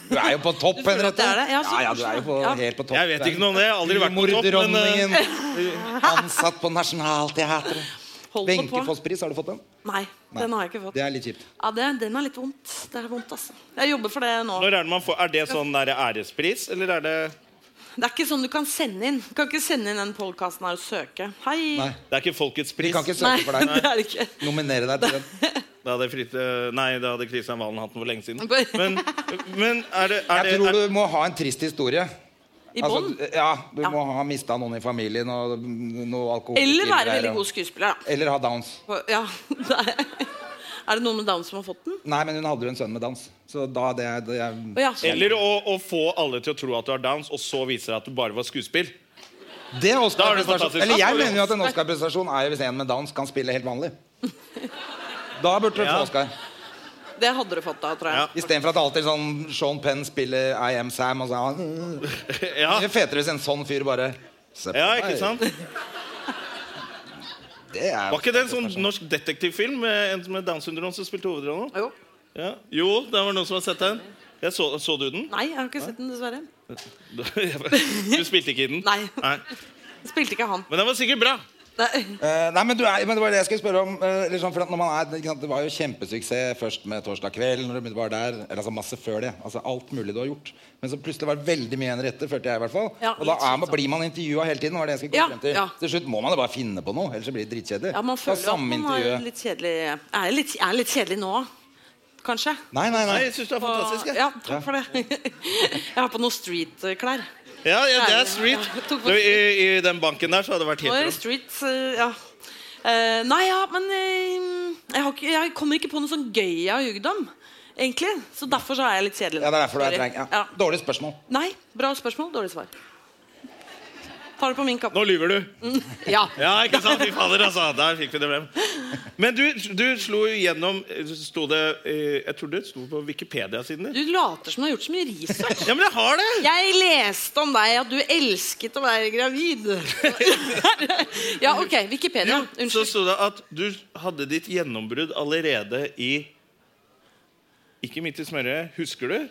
Speaker 2: Du er jo på topp,
Speaker 3: Du føler at
Speaker 2: Henriette.
Speaker 3: det er det? Ja, så
Speaker 2: Ja, ja, du er jo på,
Speaker 3: koselig. Ja.
Speaker 2: helt på topp.
Speaker 1: Jeg vet ikke noe om det. Jeg har aldri vært på topp, men, eh,
Speaker 2: Humordronningen. Ansatt på Nationaltheatret.
Speaker 3: Hold det på.
Speaker 2: Benkefoss-pris, har du fått den?
Speaker 3: Nei, den har jeg ikke fått.
Speaker 2: Det er litt kjipt.
Speaker 3: Ja, det, Den er litt vondt. Det er vondt, altså. Jeg jobber for det nå.
Speaker 1: Når er det man får Er det sånn der ærespris, eller er det
Speaker 3: Det er ikke sånn du kan sende inn. Du kan ikke sende inn den podkasten her og søke. Hei!
Speaker 2: Nei.
Speaker 1: Det er ikke Folkets
Speaker 2: Vi
Speaker 1: pris.
Speaker 2: kan ikke
Speaker 3: Nei,
Speaker 2: søke for
Speaker 3: det
Speaker 2: deg.
Speaker 3: er det ikke.
Speaker 2: Nominere deg til den.
Speaker 1: Da hadde Frite, nei, da hadde Kristian Valen hatt den for lenge siden.
Speaker 3: Bare-
Speaker 1: Men, men er det, er det
Speaker 2: Jeg tror
Speaker 1: er,
Speaker 2: du må ha en trist historie.
Speaker 3: I
Speaker 2: Altså,
Speaker 3: bånn.
Speaker 2: ja, du
Speaker 3: Ja.
Speaker 2: må ha mista noen i familien og noe alkohol.
Speaker 3: Eller være veldig god skuespiller, da.
Speaker 2: Eller ha downs.
Speaker 3: For- Ja, det er, er det noen med Downs som har fått den?
Speaker 2: Nei, men hun hadde jo en sønn med downs. Så da det, er- det er
Speaker 3: Å, ja, sånn.
Speaker 1: Eller å, å få alle til å tro at du har downs, og så viser det at du bare var skuespill.
Speaker 2: Det
Speaker 1: Da
Speaker 2: er
Speaker 1: er det
Speaker 2: Oscar-prestasjon.
Speaker 1: fantastisk.
Speaker 2: Eller
Speaker 1: Da
Speaker 2: jeg
Speaker 1: får vi
Speaker 2: mener jo at en Oscar-prestasjon er jo hvis en med downs kan spille helt vanlig. Da burde du
Speaker 1: Ja.
Speaker 2: få Oscar.
Speaker 3: Det hadde du fått da, tror jeg.
Speaker 1: Ja.
Speaker 2: Istedenfor at det alltid er sånn Sean Penn spiller I Am Sam og sånn.
Speaker 1: Ja,
Speaker 2: Det er fetere hvis en sånn fyr bare Se på
Speaker 1: ja
Speaker 2: meg.
Speaker 1: ikke sant?
Speaker 2: Det er
Speaker 1: Var ikke det en sånn norsk detektivfilm med en med Downs syndrom som spilte hovedrollen?
Speaker 3: Jo.
Speaker 1: Ja. Jo, det var noen som har sett den. Jeg så, så du den?
Speaker 3: Nei, jeg har ikke sett den, dessverre.
Speaker 1: Du spilte ikke i den?
Speaker 3: Nei. Spilte ikke han.
Speaker 1: Men den var sikkert bra.
Speaker 3: Nei.
Speaker 2: Eh, nei, men, du er, men det var det jeg skulle spørre om. eh, eller sånn, for at når man er, ikke sant, det var jo kjempesuksess først med 'Torsdag kveld'. Når du var der, eller altså masse før det. Altså Alt mulig du har gjort. Men så plutselig var det veldig mye Henriette, følte jeg. i hvert fall
Speaker 3: Ja,
Speaker 2: Og da
Speaker 3: litt
Speaker 2: er man,
Speaker 3: slitsomt.
Speaker 2: blir man intervjua hele tiden. var det jeg skulle komme
Speaker 3: Ja,
Speaker 2: frem til
Speaker 3: ja.
Speaker 2: Til slutt må man jo bare finne på noe, ellers så blir det dritkjedelig.
Speaker 3: Ja, man
Speaker 2: Ta
Speaker 3: føler at
Speaker 2: samme
Speaker 3: man er
Speaker 2: intervjuet.
Speaker 3: litt kjedelig. Er jeg litt, er jeg litt kjedelig nå, kanskje?
Speaker 2: Nei, nei,
Speaker 1: Nei,
Speaker 2: nei.
Speaker 1: jeg synes det er fantastisk. jeg.
Speaker 3: Ja, takk for det. Jeg har på noe street-klær.
Speaker 1: Ja, ja, det
Speaker 3: Ja,
Speaker 1: er street.
Speaker 3: ja. Tok på
Speaker 1: Du, i, I den banken der så hadde det vært
Speaker 3: Nå er det
Speaker 1: helt
Speaker 3: street, eh, ja. Eh, nei, ja, men eh, jeg, har ikke, jeg kommer ikke på noe sånn gøy jeg har ljugd om, egentlig. Så derfor så er jeg litt kjedelig nå.
Speaker 2: Ja, det er derfor du er
Speaker 3: Sorry.
Speaker 2: treng. Ja. Dårlig spørsmål.
Speaker 3: Nei, bra spørsmål, dårlig svar. Tar det på min kappe.
Speaker 1: Nå lyver du.
Speaker 3: Ja.
Speaker 1: Ja, ikke sant? Fy fader, altså. Der fikk vi det frem. Men du, du slo igjennom Sto det eh, Jeg tror det sto på Wikipedia-siden din.
Speaker 3: Du later som du har gjort så mye research.
Speaker 1: Ja, men jeg har det!
Speaker 3: Jeg leste om deg at du elsket å være gravid. ja, OK. Wikipedia.
Speaker 1: Så
Speaker 3: Unnskyld.
Speaker 1: sto det at du hadde ditt gjennombrudd allerede i Ikke midt i smørøyet. Husker du?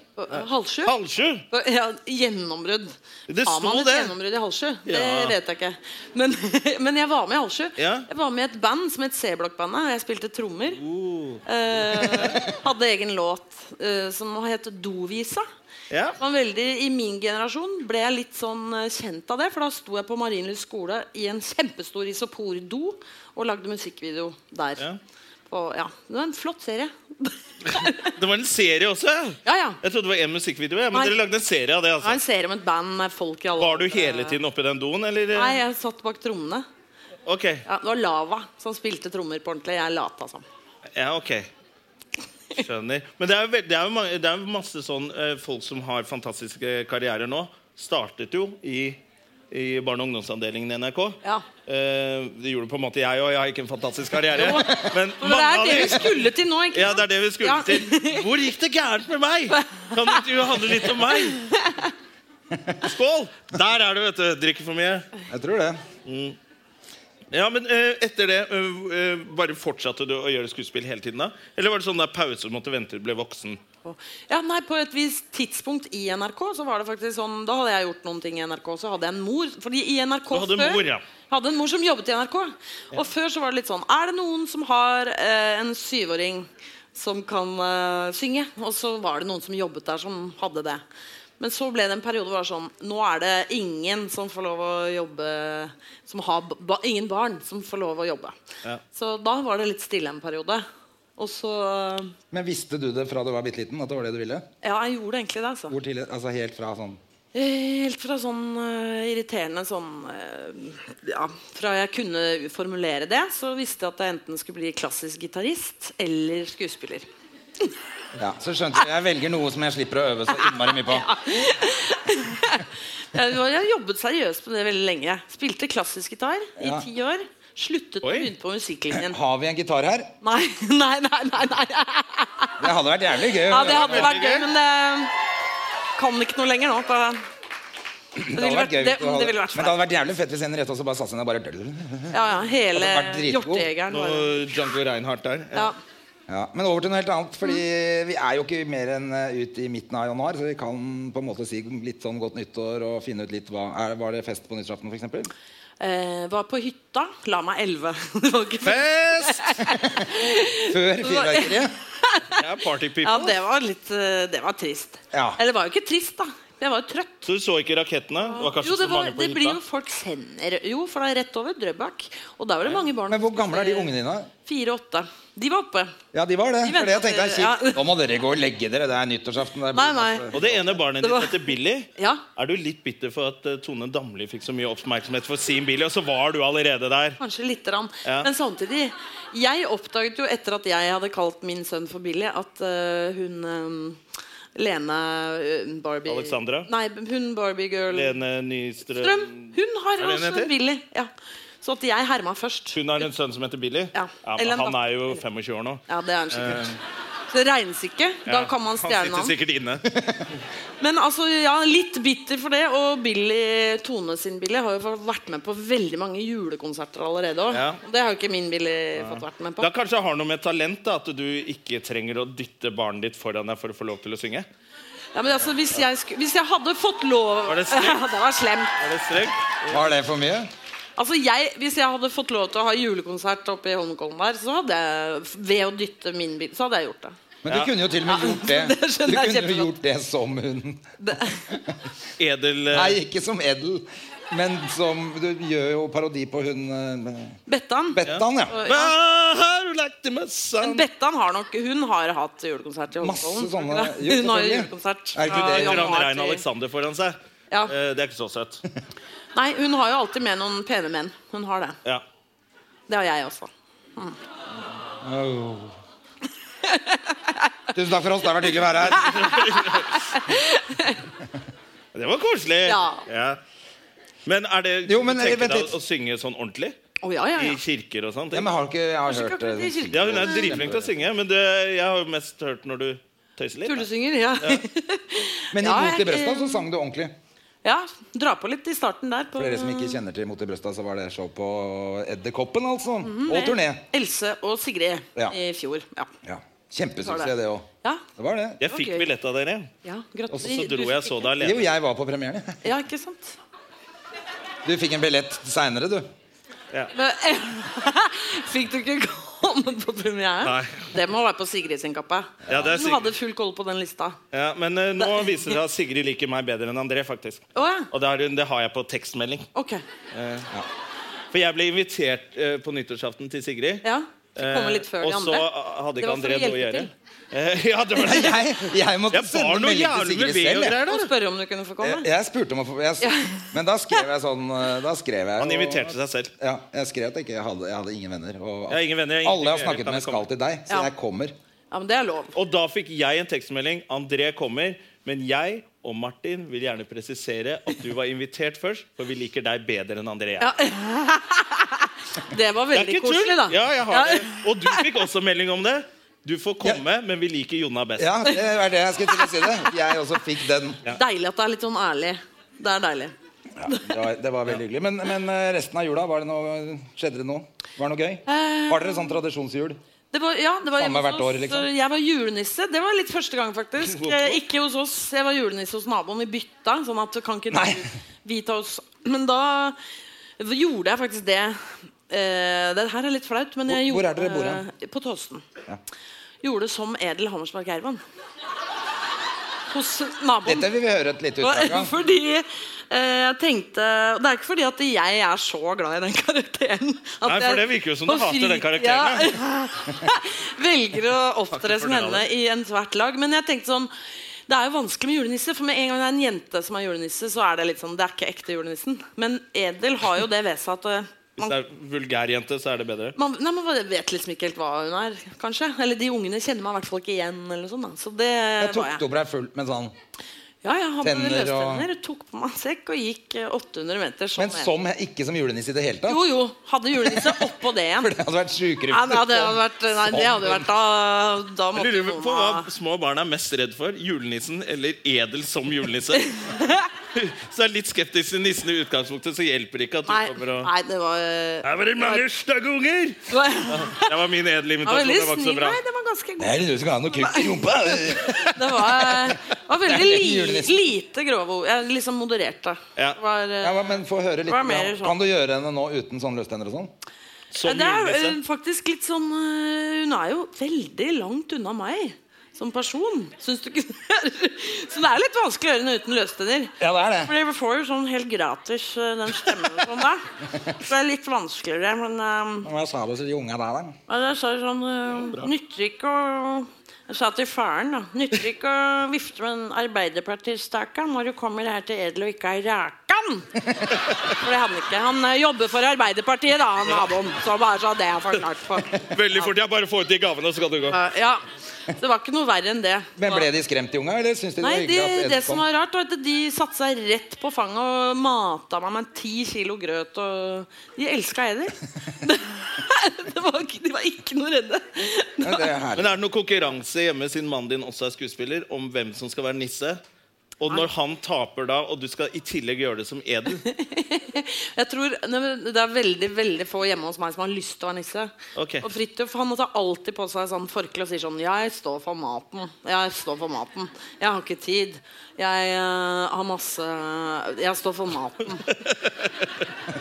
Speaker 3: Halv sju?
Speaker 1: Halv sju!
Speaker 3: Ja, gjennombrudd.
Speaker 1: Det
Speaker 3: Har man
Speaker 1: sto
Speaker 3: et
Speaker 1: det.
Speaker 3: gjennombrudd i halv sju? Det
Speaker 1: Ja.
Speaker 3: vet jeg ikke. Men, men jeg var med i halv sju.
Speaker 1: Ja.
Speaker 3: Jeg var med i et band som het C-blokkbandet. Jeg spilte trommer.
Speaker 1: Oh.
Speaker 3: Eh, hadde egen låt eh, som het Dovisa.
Speaker 1: Ja.
Speaker 3: Det var veldig, I min generasjon ble jeg litt sånn eh, kjent av det. For da sto jeg på Marienlyst skole i en kjempestor isopordo og lagde musikkvideo der.
Speaker 1: Ja.
Speaker 3: Og, ja. Det var en flott serie.
Speaker 1: Det var en serie også.
Speaker 3: ja, ja.
Speaker 1: Jeg trodde det var én musikkvideo. ja, Men
Speaker 3: Nei.
Speaker 1: dere lagde en serie av det.
Speaker 3: Det var
Speaker 1: altså
Speaker 3: en serie om et band med folk i alle
Speaker 1: Var du hele tiden oppi den doen, eller?
Speaker 3: Nei, jeg satt bak trommene.
Speaker 1: Ok.
Speaker 3: Ja, det var Lava som spilte trommer på ordentlig. Jeg altså. lata som.
Speaker 1: Ja, ok. Skjønner. Men det er jo, veld- det er jo, mange, det er jo masse sånn eh, folk som har fantastiske karrierer nå. Startet jo i, i barne- og ungdomsavdelingen i NRK.
Speaker 3: Ja.
Speaker 1: Eh, det gjorde på en måte jeg òg. Jeg har ikke en fantastisk karriere. Men
Speaker 3: Men det er det
Speaker 1: mange
Speaker 3: vi
Speaker 1: av de
Speaker 3: skulle til nå, ikke
Speaker 1: ja, det er det vi skulle
Speaker 3: Ja.
Speaker 1: til. Hvor gikk det gærent med meg? Kan intervjuet handle litt om meg? Skål! Der er du, vet du. Drikker for mye.
Speaker 2: Jeg tror det.
Speaker 1: Ja, men eh, etter det, eh, eh, bare fortsatte du å gjøre skuespill hele tiden da? Eller var det sånn der pause du måtte vente til du ble voksen?
Speaker 3: Ja, nei, På et visst tidspunkt i NRK så var det faktisk sånn Da hadde jeg gjort noen ting i NRK. Så hadde jeg en mor. Fordi i NRK
Speaker 1: Du hadde en
Speaker 3: før
Speaker 1: mor, ja.
Speaker 3: hadde en mor som jobbet i NRK. Og før så var det litt sånn Er det noen som har eh, en syvåring som kan eh, synge? Og så var det noen som jobbet der, som hadde det. Men så ble det en periode hvor det var sånn Nå er det ingen som får lov å jobbe som har b- ba, Ingen barn som får lov å jobbe.
Speaker 1: Ja.
Speaker 3: Så da var det litt stille en periode. Og så
Speaker 2: Men visste du det fra du var bitte liten? At det var det du ville?
Speaker 3: Ja, jeg gjorde egentlig det, altså.
Speaker 2: Hvor tidlig? Altså helt fra sånn
Speaker 3: Eh, Helt fra sånn eh, irriterende sånn eh, Ja, fra jeg kunne formulere det, så visste jeg at jeg enten skulle bli klassisk gitarist eller skuespiller.
Speaker 2: Ja, Så skjønte jeg jeg velger noe som jeg slipper å øve så innmari mye på.
Speaker 3: Jeg, var- jeg jobbet seriøst på det veldig lenge. Spilte klassisk gitar i
Speaker 2: Ja.
Speaker 3: ti år. Sluttet og
Speaker 1: Oi.
Speaker 3: begynte på musikklinjen.
Speaker 2: Har vi en gitar her?
Speaker 3: Nei, nei, nei. nei, nei.
Speaker 2: Det hadde vært jævlig gøy.
Speaker 3: Ja, det hadde
Speaker 1: veldig
Speaker 3: vært gøy,
Speaker 1: gøy.
Speaker 3: men det kan ikke noe lenger nå. På Det ville vært, det,
Speaker 2: å ha
Speaker 3: det ville vært
Speaker 2: men det
Speaker 3: flaut.
Speaker 2: hadde vært jævlig fett hvis en rett også bare satte seg ned og bare
Speaker 3: Ja, ja, hele
Speaker 2: hadde vært dritgod.
Speaker 3: hjortejegeren.
Speaker 1: Noe
Speaker 3: bare.
Speaker 1: Django Reinhardt der.
Speaker 3: Ja.
Speaker 2: ja, Men over til noe helt annet. Fordi vi er jo ikke mer enn eh, ut i midten av januar, så vi kan på en måte si litt sånn godt nyttår og finne ut litt hva er, Var det fest på nyttårsaften, f.eks.?
Speaker 3: Eh, var på hytta. La meg elleve. Det var ikke
Speaker 1: Fest!
Speaker 2: Før fyrverkeriet?
Speaker 1: Jeg er party people.
Speaker 3: Ja, det var litt eh, Det var trist.
Speaker 2: Ja.
Speaker 3: Eller det var jo ikke trist, da. Jeg var jo trøtt.
Speaker 1: Så du så ikke rakettene? Det var kanskje
Speaker 3: Jo, det,
Speaker 1: ikke så
Speaker 3: var,
Speaker 1: mange
Speaker 3: det
Speaker 1: på
Speaker 3: blir jo
Speaker 1: hytta.
Speaker 3: folk sender Jo, for det er rett over Drøbak. Og der var det mange barn.
Speaker 2: Men hvor gamle er de ungene dine?
Speaker 3: Fire-åtte. De var oppe.
Speaker 2: Ja, de var det.
Speaker 3: De
Speaker 2: For det jeg tenkte er
Speaker 3: venter-
Speaker 2: kjipt.
Speaker 3: ja.
Speaker 2: Nå må dere gå og legge dere. Det er nyttårsaften. Det er
Speaker 3: Nei, nei.
Speaker 2: altså.
Speaker 1: Og det ene barnet
Speaker 3: Det
Speaker 1: ditt
Speaker 3: var-
Speaker 1: heter Billy.
Speaker 3: Ja.
Speaker 1: Er du litt bitter for at eh, Tone Damli fikk så mye oppmerksomhet for sin Billy, og så var du allerede der?
Speaker 3: Kanskje lite grann.
Speaker 1: Ja.
Speaker 3: Men samtidig Jeg oppdaget jo etter at jeg hadde kalt min sønn for Billy, at eh, hun eh, Lene eh, Barbie
Speaker 1: Alexandra?
Speaker 3: Nei, hun Barbie-girl
Speaker 1: Lene Nystrøm
Speaker 3: Strøm. Hun
Speaker 1: Er
Speaker 3: har
Speaker 1: det hun
Speaker 3: også
Speaker 1: heter?
Speaker 3: Billy. Ja. Så at jeg herma først.
Speaker 1: Hun har en sønn som heter Billy.
Speaker 3: Ja. Eller
Speaker 1: men
Speaker 3: en
Speaker 1: Han
Speaker 3: datter.
Speaker 1: er jo 25 år nå.
Speaker 3: Ja, det er han sikkert. Så det regnes ikke. Da
Speaker 1: Eh. Ja,
Speaker 3: kan man stjerne
Speaker 1: Han
Speaker 3: han.
Speaker 1: sitter sikkert inne.
Speaker 3: Men altså, ja, litt bitter for det. Og Billy, Tone sin Billy har jo vært med på veldig mange julekonserter allerede. også.
Speaker 1: Ja.
Speaker 3: Og Det har jo ikke min Billy fått vært med på.
Speaker 1: Da kanskje har noe med talent da, at du ikke trenger å dytte barnet ditt foran deg for å få lov til å synge?
Speaker 3: Ja, men altså, hvis jeg, sku, hvis jeg hadde fått lov
Speaker 1: Var det stygt?
Speaker 3: Ja, det var slemt.
Speaker 1: Er det strengt?
Speaker 2: Var det for mye?
Speaker 3: Altså, jeg, Hvis jeg hadde fått lov til å ha julekonsert oppe i Holmenkollen der, så hadde jeg ved å dytte min bil, så hadde jeg gjort det.
Speaker 2: Men du
Speaker 1: Ja.
Speaker 2: kunne jo til og med gjort det.
Speaker 3: det skjønner
Speaker 2: Du kunne jo
Speaker 3: jeg kjempegodt.
Speaker 2: gjort det som hun.
Speaker 3: det.
Speaker 1: Edel eh,
Speaker 2: Nei, ikke som Edel, men som Du gjør jo parodi på hun eh,
Speaker 3: Bettan.
Speaker 2: Bettan, ja.
Speaker 3: Og-
Speaker 1: Hva
Speaker 3: ja.
Speaker 1: har du lagt i møssa?
Speaker 3: Men Bettan har nok Hun har hatt julekonsert i
Speaker 2: Masse
Speaker 3: Holmenkollen.
Speaker 2: sånne-
Speaker 3: har ikke
Speaker 2: Jo,
Speaker 3: det? Hun har jo
Speaker 2: selvfølgelig.
Speaker 3: julekonsert.
Speaker 2: Er ikke
Speaker 3: fra
Speaker 2: det-
Speaker 1: Etter han
Speaker 3: januar
Speaker 1: Rein
Speaker 3: til-
Speaker 1: Alexander foran seg.
Speaker 3: Ja.
Speaker 1: Eh, Det er ikke så søtt.
Speaker 3: Nei, hun har jo alltid med noen pene menn. Hun har det.
Speaker 1: Ja.
Speaker 3: Det har jeg også.
Speaker 2: Au. Tusen takk for oss. Det har vært hyggelig å være her.
Speaker 1: Det var koselig.
Speaker 3: Ja.
Speaker 1: Men er det
Speaker 2: Jo, men, eh,
Speaker 1: tenker
Speaker 2: vent
Speaker 1: deg
Speaker 2: litt.
Speaker 1: å synge sånn ordentlig?
Speaker 3: Å ja, ja,
Speaker 1: I
Speaker 3: ja.
Speaker 1: kirker og sånt?
Speaker 2: Ja, men har ikke, jeg har
Speaker 3: Kanskje
Speaker 2: hørt
Speaker 3: ikke
Speaker 2: eh,
Speaker 3: akkurat i kirken.
Speaker 1: Ja, hun er dritflink til å synge, men det, jeg har jo mest hørt når du tøyser litt. da.
Speaker 3: Tullesynger, ja.
Speaker 2: Men i altså.
Speaker 3: Ja,
Speaker 2: Mot i
Speaker 3: jeg-
Speaker 2: brøsta så sang du ordentlig.
Speaker 3: ja. Dra på litt i starten der. På,
Speaker 2: For dere som ikke kjenner til Mot i brøsta, så var det show på Edderkoppen, altså.
Speaker 3: Mhm,
Speaker 2: Og turné.
Speaker 3: Else og Sigrid
Speaker 2: Ja.
Speaker 3: i fjor. Ja.
Speaker 2: Ja. Kjempesuksess, det òg.
Speaker 3: ja.
Speaker 2: Det var det.
Speaker 1: Jeg fikk
Speaker 3: Ok.
Speaker 1: billett av dere,
Speaker 3: ja.
Speaker 1: og så
Speaker 3: Gratulerer.
Speaker 1: dro
Speaker 3: Du
Speaker 1: jeg
Speaker 3: fikk
Speaker 1: så
Speaker 3: det.
Speaker 1: det
Speaker 2: Jo,
Speaker 1: alene.
Speaker 2: jeg var på premieren. jeg.
Speaker 3: Ja, ikke sant?
Speaker 2: Du fikk en billett seinere, du.
Speaker 3: Men, fikk du ikke komme på premiere?
Speaker 1: Nei.
Speaker 3: Det må være på Sigrid sin kappe.
Speaker 1: Ja, det er
Speaker 3: Hun
Speaker 1: Sigrid.
Speaker 3: hadde full koll på den lista.
Speaker 1: Ja, men eh, nå viser det seg at Sigrid liker meg bedre enn André, faktisk.
Speaker 3: Å ja.
Speaker 1: Og det har, hun, det har jeg på tekstmelding.
Speaker 3: Ok.
Speaker 1: For jeg ble invitert eh, på nyttårsaften til Sigrid.
Speaker 3: Ja. Fikk komme
Speaker 1: Eh,
Speaker 3: litt før
Speaker 1: og så
Speaker 3: de andre.
Speaker 1: eh, hadde
Speaker 3: Det
Speaker 1: ikke
Speaker 3: var for å
Speaker 1: André noe å
Speaker 3: hjelpe
Speaker 1: gjøre.
Speaker 3: til.
Speaker 1: Eh, ja, det var
Speaker 2: Nei,
Speaker 1: det.
Speaker 2: jeg, jeg måtte
Speaker 1: Jeg
Speaker 2: sende
Speaker 1: bar noe
Speaker 2: melding til
Speaker 1: jævlig med
Speaker 2: Sigrid
Speaker 1: ved og
Speaker 2: selv. jeg.
Speaker 1: greier,
Speaker 3: Og
Speaker 1: da.
Speaker 3: spørre om du kunne få komme.
Speaker 2: Jeg,
Speaker 1: Eh,
Speaker 2: jeg spurte om å få jeg, s- Men da skrev jeg sånn eh, Da skrev jeg
Speaker 1: Han
Speaker 2: og-
Speaker 1: inviterte seg selv.
Speaker 2: Ja, jeg skrev at jeg ikke hadde, jeg hadde ingen venner. Og at
Speaker 1: Jeg har ingen venner, jeg har
Speaker 2: alle jeg
Speaker 1: ingenting å gjøre,
Speaker 2: har snakket
Speaker 1: kan
Speaker 2: med,
Speaker 1: jeg komme?
Speaker 2: skal til deg. Så
Speaker 3: Ja.
Speaker 2: jeg kommer.
Speaker 3: Ja, men det er lov.
Speaker 1: Og da fikk jeg en tekstmelding. André kommer. Men jeg og Martin vil gjerne presisere at du var invitert først, for vi liker deg bedre enn André.
Speaker 3: Ja. Det var
Speaker 1: Det er
Speaker 3: veldig
Speaker 1: ikke tull.
Speaker 3: koselig, da.
Speaker 1: Ja, jeg har
Speaker 3: Ja.
Speaker 1: det. Og du fikk også melding om det. Du får komme, men vi liker Jonna best.
Speaker 2: Ja, det er det jeg skulle til å si det. Jeg også fikk den.
Speaker 3: Deilig at det er litt sånn ærlig. Det er deilig.
Speaker 2: Ja, det, var, det var veldig hyggelig. Men, men eh, resten av jula, var det noe, skjedde det noe? Var det noe gøy?
Speaker 3: Eh.
Speaker 2: Var dere sånn tradisjonsjul?
Speaker 3: Det var, ja, det var
Speaker 2: Samme
Speaker 3: hjemme hos
Speaker 2: hvert år,
Speaker 3: oss.
Speaker 2: liksom.
Speaker 3: Jeg var julenisse. Det var litt første gang, faktisk. Eh, Ikke hos oss. Jeg var julenisse hos naboen. Vi bytta, sånn at kan ikke
Speaker 2: Nei.
Speaker 3: du- vi ta oss Men da gjorde jeg faktisk det. Eh, det her er litt flaut, men jeg
Speaker 2: Hvor- hvor
Speaker 3: gjorde
Speaker 2: er dere bor hen?
Speaker 3: eh, På Tåsen.
Speaker 2: Ja.
Speaker 3: Gjorde som Edel Hammersmark Ervan. Hos naboen.
Speaker 2: Dette vil vi høre et lite utdrag
Speaker 3: Og-
Speaker 2: av.
Speaker 3: Fordi eh, jeg tenkte Det er ikke fordi at jeg er så glad i den karakteren. At
Speaker 1: Nei, for
Speaker 3: jeg
Speaker 1: det virker jo som du
Speaker 3: på
Speaker 1: hater den
Speaker 3: fri-
Speaker 1: karakteren,
Speaker 3: Ja, velger å opptre
Speaker 1: Takk for
Speaker 3: som
Speaker 1: det,
Speaker 3: henne
Speaker 1: Alex.
Speaker 3: i enhvert lag. Men jeg tenkte sånn det er jo vanskelig med julenisse, for med en gang det er en jente som er julenisse, så er det litt sånn, det er ikke ekte julenissen. Men Edel har jo det ved seg at eh,
Speaker 1: Hvis
Speaker 3: man,
Speaker 1: det er vulgær jente, så er det bedre.
Speaker 3: man, nei, man vet liksom ikke helt hva hun er, kanskje. Eller de ungene kjenner meg i hvert fall ikke igjen. Eller sånn, da. Så det
Speaker 2: Jeg
Speaker 3: var
Speaker 2: tok det
Speaker 3: jeg.
Speaker 2: opp deg fullt med sånn
Speaker 3: Ja, ja, han
Speaker 2: Tenner
Speaker 3: ble
Speaker 2: og-
Speaker 3: løstenner, tok på meg en sekk og gikk eh, 800 meter. Sånn
Speaker 2: Men som, ikke som julenisse i det hele tatt?
Speaker 3: Jo, jo. Hadde julenisse oppå det igjen.
Speaker 2: For det hadde vært sjukere.
Speaker 3: Ja, det hadde vært, nei, det hadde vært da, da måtte
Speaker 1: Lurer
Speaker 3: noen
Speaker 1: på
Speaker 3: ha-
Speaker 1: hva små barn er mest redd for. Julenissen eller edel som julenisse? Så jeg er litt skeptisk til nissen i utgangspunktet, så hjelper det ikke at du
Speaker 3: Nei,
Speaker 1: kommer og
Speaker 3: nei, det var eh,
Speaker 1: Her var det mange stygge unger!
Speaker 3: Det var, det
Speaker 1: Det var min edle invitasjon.
Speaker 3: var veldig
Speaker 1: Det var ikke
Speaker 3: snill.
Speaker 1: så bra.
Speaker 3: Nei, det var ganske
Speaker 2: Det
Speaker 3: god.
Speaker 2: er du som kan ha noe kukt i rumpa.
Speaker 3: Det var, det var
Speaker 2: Det er
Speaker 3: veldig
Speaker 2: ikke
Speaker 3: li,
Speaker 2: julenissen.
Speaker 3: lite grove ord. Jeg liksom modererte.
Speaker 1: Ja.
Speaker 3: Det var, eh,
Speaker 2: Ja, hva- men få høre litt.
Speaker 3: Hva er mer sånn?
Speaker 2: Kan du gjøre henne nå uten sånne løstenner og sånn?
Speaker 1: Som
Speaker 3: det er
Speaker 1: julenisse.
Speaker 3: eh, faktisk litt sånn eh, Hun er jo veldig langt unna meg som person. Syns du ikke det? Så det er litt vanskelig å gjøre henne uten løstenner.
Speaker 2: Ja, det er det.
Speaker 3: For vi får jo sånn helt gratis eh, den stemmen sånn da. Så det er litt vanskeligere, men eh,
Speaker 2: Hva sa du til de unga der, da?
Speaker 3: Ja, Jeg sa sånn eh, Nytter ikke å Jeg sa til faren, da. Nytter ikke å vifte med en Arbeiderpartistake når du kommer her til Edel og ikke har rakan. For det hadde han ikke. Han eh, jobber for Arbeiderpartiet, da, han naboen. Så bare så det er forklart for.
Speaker 1: Veldig fort. Jeg bare får ut de gavene, så kan du gå.
Speaker 3: Eh, Ja. Så det var ikke noe verre enn det.
Speaker 2: Men Ble de skremt, de unga? Eller syntes de det var
Speaker 3: Nei,
Speaker 2: hyggelig at
Speaker 3: det,
Speaker 2: Ed
Speaker 3: det som
Speaker 2: kom?
Speaker 3: var rart, var at de satte seg rett på fanget og mata meg med ti kilo grøt. Og de elska Eder. Det, det var, ikke- de var ikke noe redde.
Speaker 2: Ja, det er herlig.
Speaker 1: Men er det noen konkurranse hjemme siden mannen din også er skuespiller, om hvem som skal være nisse? Og når han taper da, og du skal i tillegg gjøre det som edel
Speaker 3: Jeg tror, nei, men Det er veldig veldig få hjemme hos meg som har lyst til å være nisse.
Speaker 1: Ok.
Speaker 3: Og Fridtjof han tar alltid på seg sånn forkle og sier sånn Jeg står for maten. Jeg står for maten. Jeg har ikke tid. Jeg eh, har masse Jeg står for maten.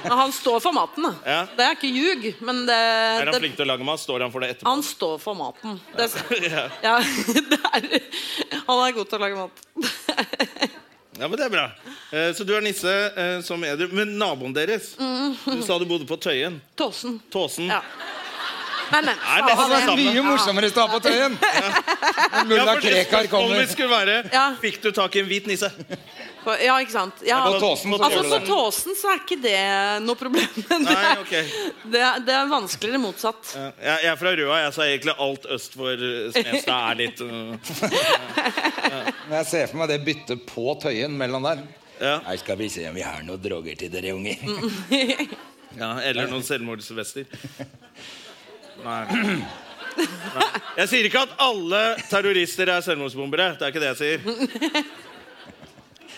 Speaker 3: Men han står for maten, da.
Speaker 1: Ja.
Speaker 3: Det er ikke ljug. Men det,
Speaker 1: Er han
Speaker 3: det
Speaker 1: flink til å lage mat? Står han for det etterpå?
Speaker 3: han står for maten. Det,
Speaker 1: Ja.
Speaker 3: ja, det er, han er god til å lage mat.
Speaker 1: Ja, men det er bra. Eh, Så du er nisse eh, som edel. Men naboen deres Du sa du bodde på Tøyen.
Speaker 3: Tåsen.
Speaker 1: Tåsen.
Speaker 3: Mm. Ja. Nei, men
Speaker 1: Nei, det
Speaker 2: Det
Speaker 3: faen,
Speaker 2: var mye morsommere i stad på Tøyen! Når
Speaker 1: Ja,
Speaker 2: Mulla
Speaker 1: for det
Speaker 2: Krekar kommer.
Speaker 1: spørsmålet skulle være
Speaker 3: Ja.
Speaker 1: Fikk du tak i en hvit nisse?
Speaker 3: På- Ja, ikke sant. Ja,
Speaker 2: På Tåsen så
Speaker 3: altså,
Speaker 2: gjør du
Speaker 3: på
Speaker 2: det.
Speaker 3: Tåsen så er ikke det noe problem. Det er,
Speaker 1: Nei, ok.
Speaker 3: det er, det er vanskeligere motsatt.
Speaker 1: Ja, Jeg, jeg er fra Røa, jeg, så egentlig alt øst for eh, Smestad er litt eh,
Speaker 2: Men jeg ser for meg det byttet på Tøyen mellom der.
Speaker 1: ja.
Speaker 2: Her skal vi se om vi har noen droger til dere unger.
Speaker 1: ja, Eller noen selvmordsvester. Nei. Nei. Jeg sier ikke at alle terrorister er selvmordsbombere. Det er ikke det jeg sier.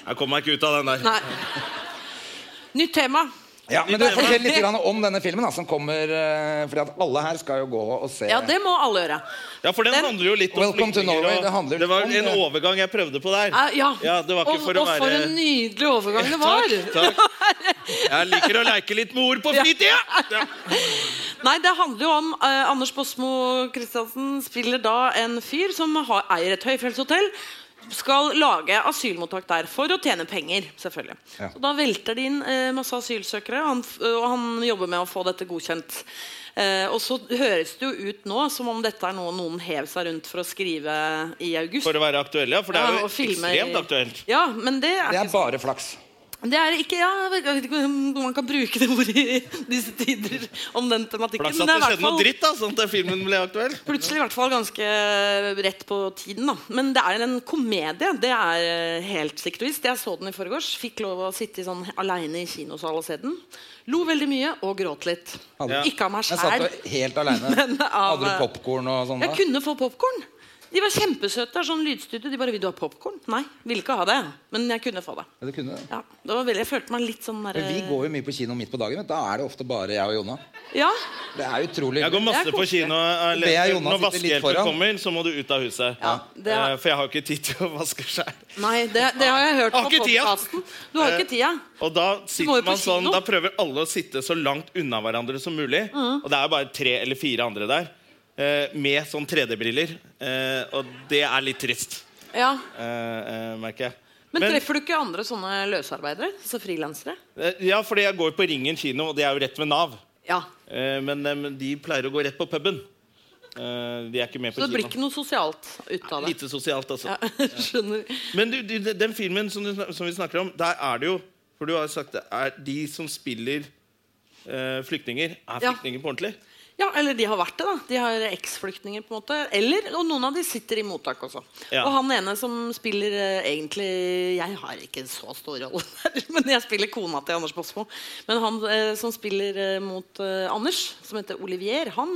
Speaker 1: Jeg kommer meg ikke ut av den der.
Speaker 3: Nei. Nytt tema.
Speaker 2: Ja, men du Fortell litt grann om denne filmen, da, som kommer eh, Fordi at alle her skal jo gå og se.
Speaker 3: Ja, det må alle gjøre.
Speaker 1: Ja, for den,
Speaker 3: Den-
Speaker 1: handler jo litt om
Speaker 2: Welcome to
Speaker 1: flyktninger,
Speaker 2: Norway,
Speaker 1: og
Speaker 2: det handler
Speaker 1: det var
Speaker 2: om
Speaker 1: en
Speaker 2: det.
Speaker 1: overgang jeg prøvde på der.
Speaker 3: Eh, Ja,
Speaker 1: det var ikke
Speaker 3: og,
Speaker 1: for å
Speaker 3: og
Speaker 1: være
Speaker 3: for en nydelig overgang det var.
Speaker 1: Takk, takk. Jeg liker å leke litt med ord på
Speaker 3: Ja.
Speaker 1: fritida! Ja.
Speaker 3: Nei, det handler jo om eh, Anders Bosmo Christiansen spiller da en fyr som har, eier et høyfjellshotell. Skal lage asylmottak der for å tjene penger, selvfølgelig.
Speaker 2: Ja.
Speaker 3: Så da velter de inn eh, masse asylsøkere, og han, f- og han jobber med å få dette godkjent. Eh, og så høres det jo ut nå som om dette er noe noen hev seg rundt for å skrive i august.
Speaker 1: For å være aktuell, ja. For det er
Speaker 3: Ja,
Speaker 1: jo
Speaker 3: og filme i-
Speaker 1: ekstremt aktuelt.
Speaker 3: Ja, men det er
Speaker 2: Det
Speaker 3: ikke
Speaker 2: er bare flaks.
Speaker 3: det er ikke, ja, Jeg vet ikke om man kan bruke det ordet i disse tider om den tematikken.
Speaker 1: Flaks at
Speaker 3: men
Speaker 1: det
Speaker 3: er i hvert
Speaker 1: skjedde noe
Speaker 3: fall-
Speaker 1: dritt, da, sånn at filmen ble aktuell.
Speaker 3: Plutselig i hvert fall ganske rett på tiden. da Men det er en komedie. Det er eh, helt sikkert og visst. Jeg så den i forgårs. Fikk lov å sitte i sånn aleine i kinosal og se den. Lo veldig mye og gråt litt.
Speaker 2: Hadde-
Speaker 3: Ikke av meg
Speaker 2: Jeg satt
Speaker 3: sjæl.
Speaker 2: jo helt aleine.
Speaker 3: Men av-
Speaker 2: Hadde du popkorn og sånn? da?
Speaker 3: Jeg kunne få popkorn. De var kjempesøte. Det er sånn lydstudio. De bare 'Vil du ha popkorn?' Nei, ville ikke ha det. Men jeg kunne få det.
Speaker 2: Ja, du kunne det.
Speaker 3: Ja, det var veldig, Jeg følte meg litt sånn der,
Speaker 2: Men Vi går jo mye på kino midt på dagen. vet du. Da er det ofte bare jeg og Jonna.
Speaker 3: eh, Ja.
Speaker 2: Det er utrolig
Speaker 1: Jeg går
Speaker 3: Det
Speaker 1: masse
Speaker 3: er
Speaker 1: på
Speaker 3: koselig.
Speaker 1: kino. eh,
Speaker 2: Det er Jonas
Speaker 1: Når
Speaker 2: sitter litt
Speaker 1: vaskehjelpen
Speaker 2: foran.
Speaker 1: kommer, så må du ut av huset.
Speaker 3: Ja, det er-
Speaker 1: Eh, For jeg har jo ikke tid til å vaske sjæl.
Speaker 3: Nei, det, det har jeg hørt på
Speaker 1: Har ikke tida. Eh.
Speaker 3: podkasten. Du har ikke tida.
Speaker 1: Og da
Speaker 3: må jo
Speaker 1: sitter
Speaker 3: på
Speaker 1: man sånn
Speaker 3: kino.
Speaker 1: Da prøver alle å sitte så langt unna hverandre som mulig.
Speaker 3: Mm.
Speaker 1: Og det er jo bare tre eller fire andre der. eh, Med sånn 3D-briller. Eh, Og det er litt trist,
Speaker 3: Ja.
Speaker 1: eh, eh, merker jeg.
Speaker 3: Men, treffer du ikke andre sånne løsarbeidere? Så frilansere?
Speaker 1: eh, Ja, fordi jeg går på Ringen kino, og det er jo rett ved Nav.
Speaker 3: Ja.
Speaker 1: Eh, Men eh, men de pleier å gå rett på puben. Eh, De er ikke med på
Speaker 3: Så det blir
Speaker 1: kino.
Speaker 3: ikke noe sosialt ut av det?
Speaker 1: Lite sosialt, altså.
Speaker 3: Ja, skjønner.
Speaker 1: Men du, du, den filmen som, du, snak- som vi snakker om, der er det jo For du har jo sagt det er de som spiller eh, flyktninger, er
Speaker 3: Ja.
Speaker 1: flyktninger på ordentlig.
Speaker 3: Ja, eller de har vært det, da. De har eksflyktninger, på en måte. Eller, Og noen av de sitter i mottak også.
Speaker 1: Ja.
Speaker 3: Og han ene som spiller eh, egentlig Jeg har ikke en så stor rolle der, men jeg spiller kona til Anders Båsmo. Men han eh, som spiller eh, mot eh, Anders, som heter Olivier, han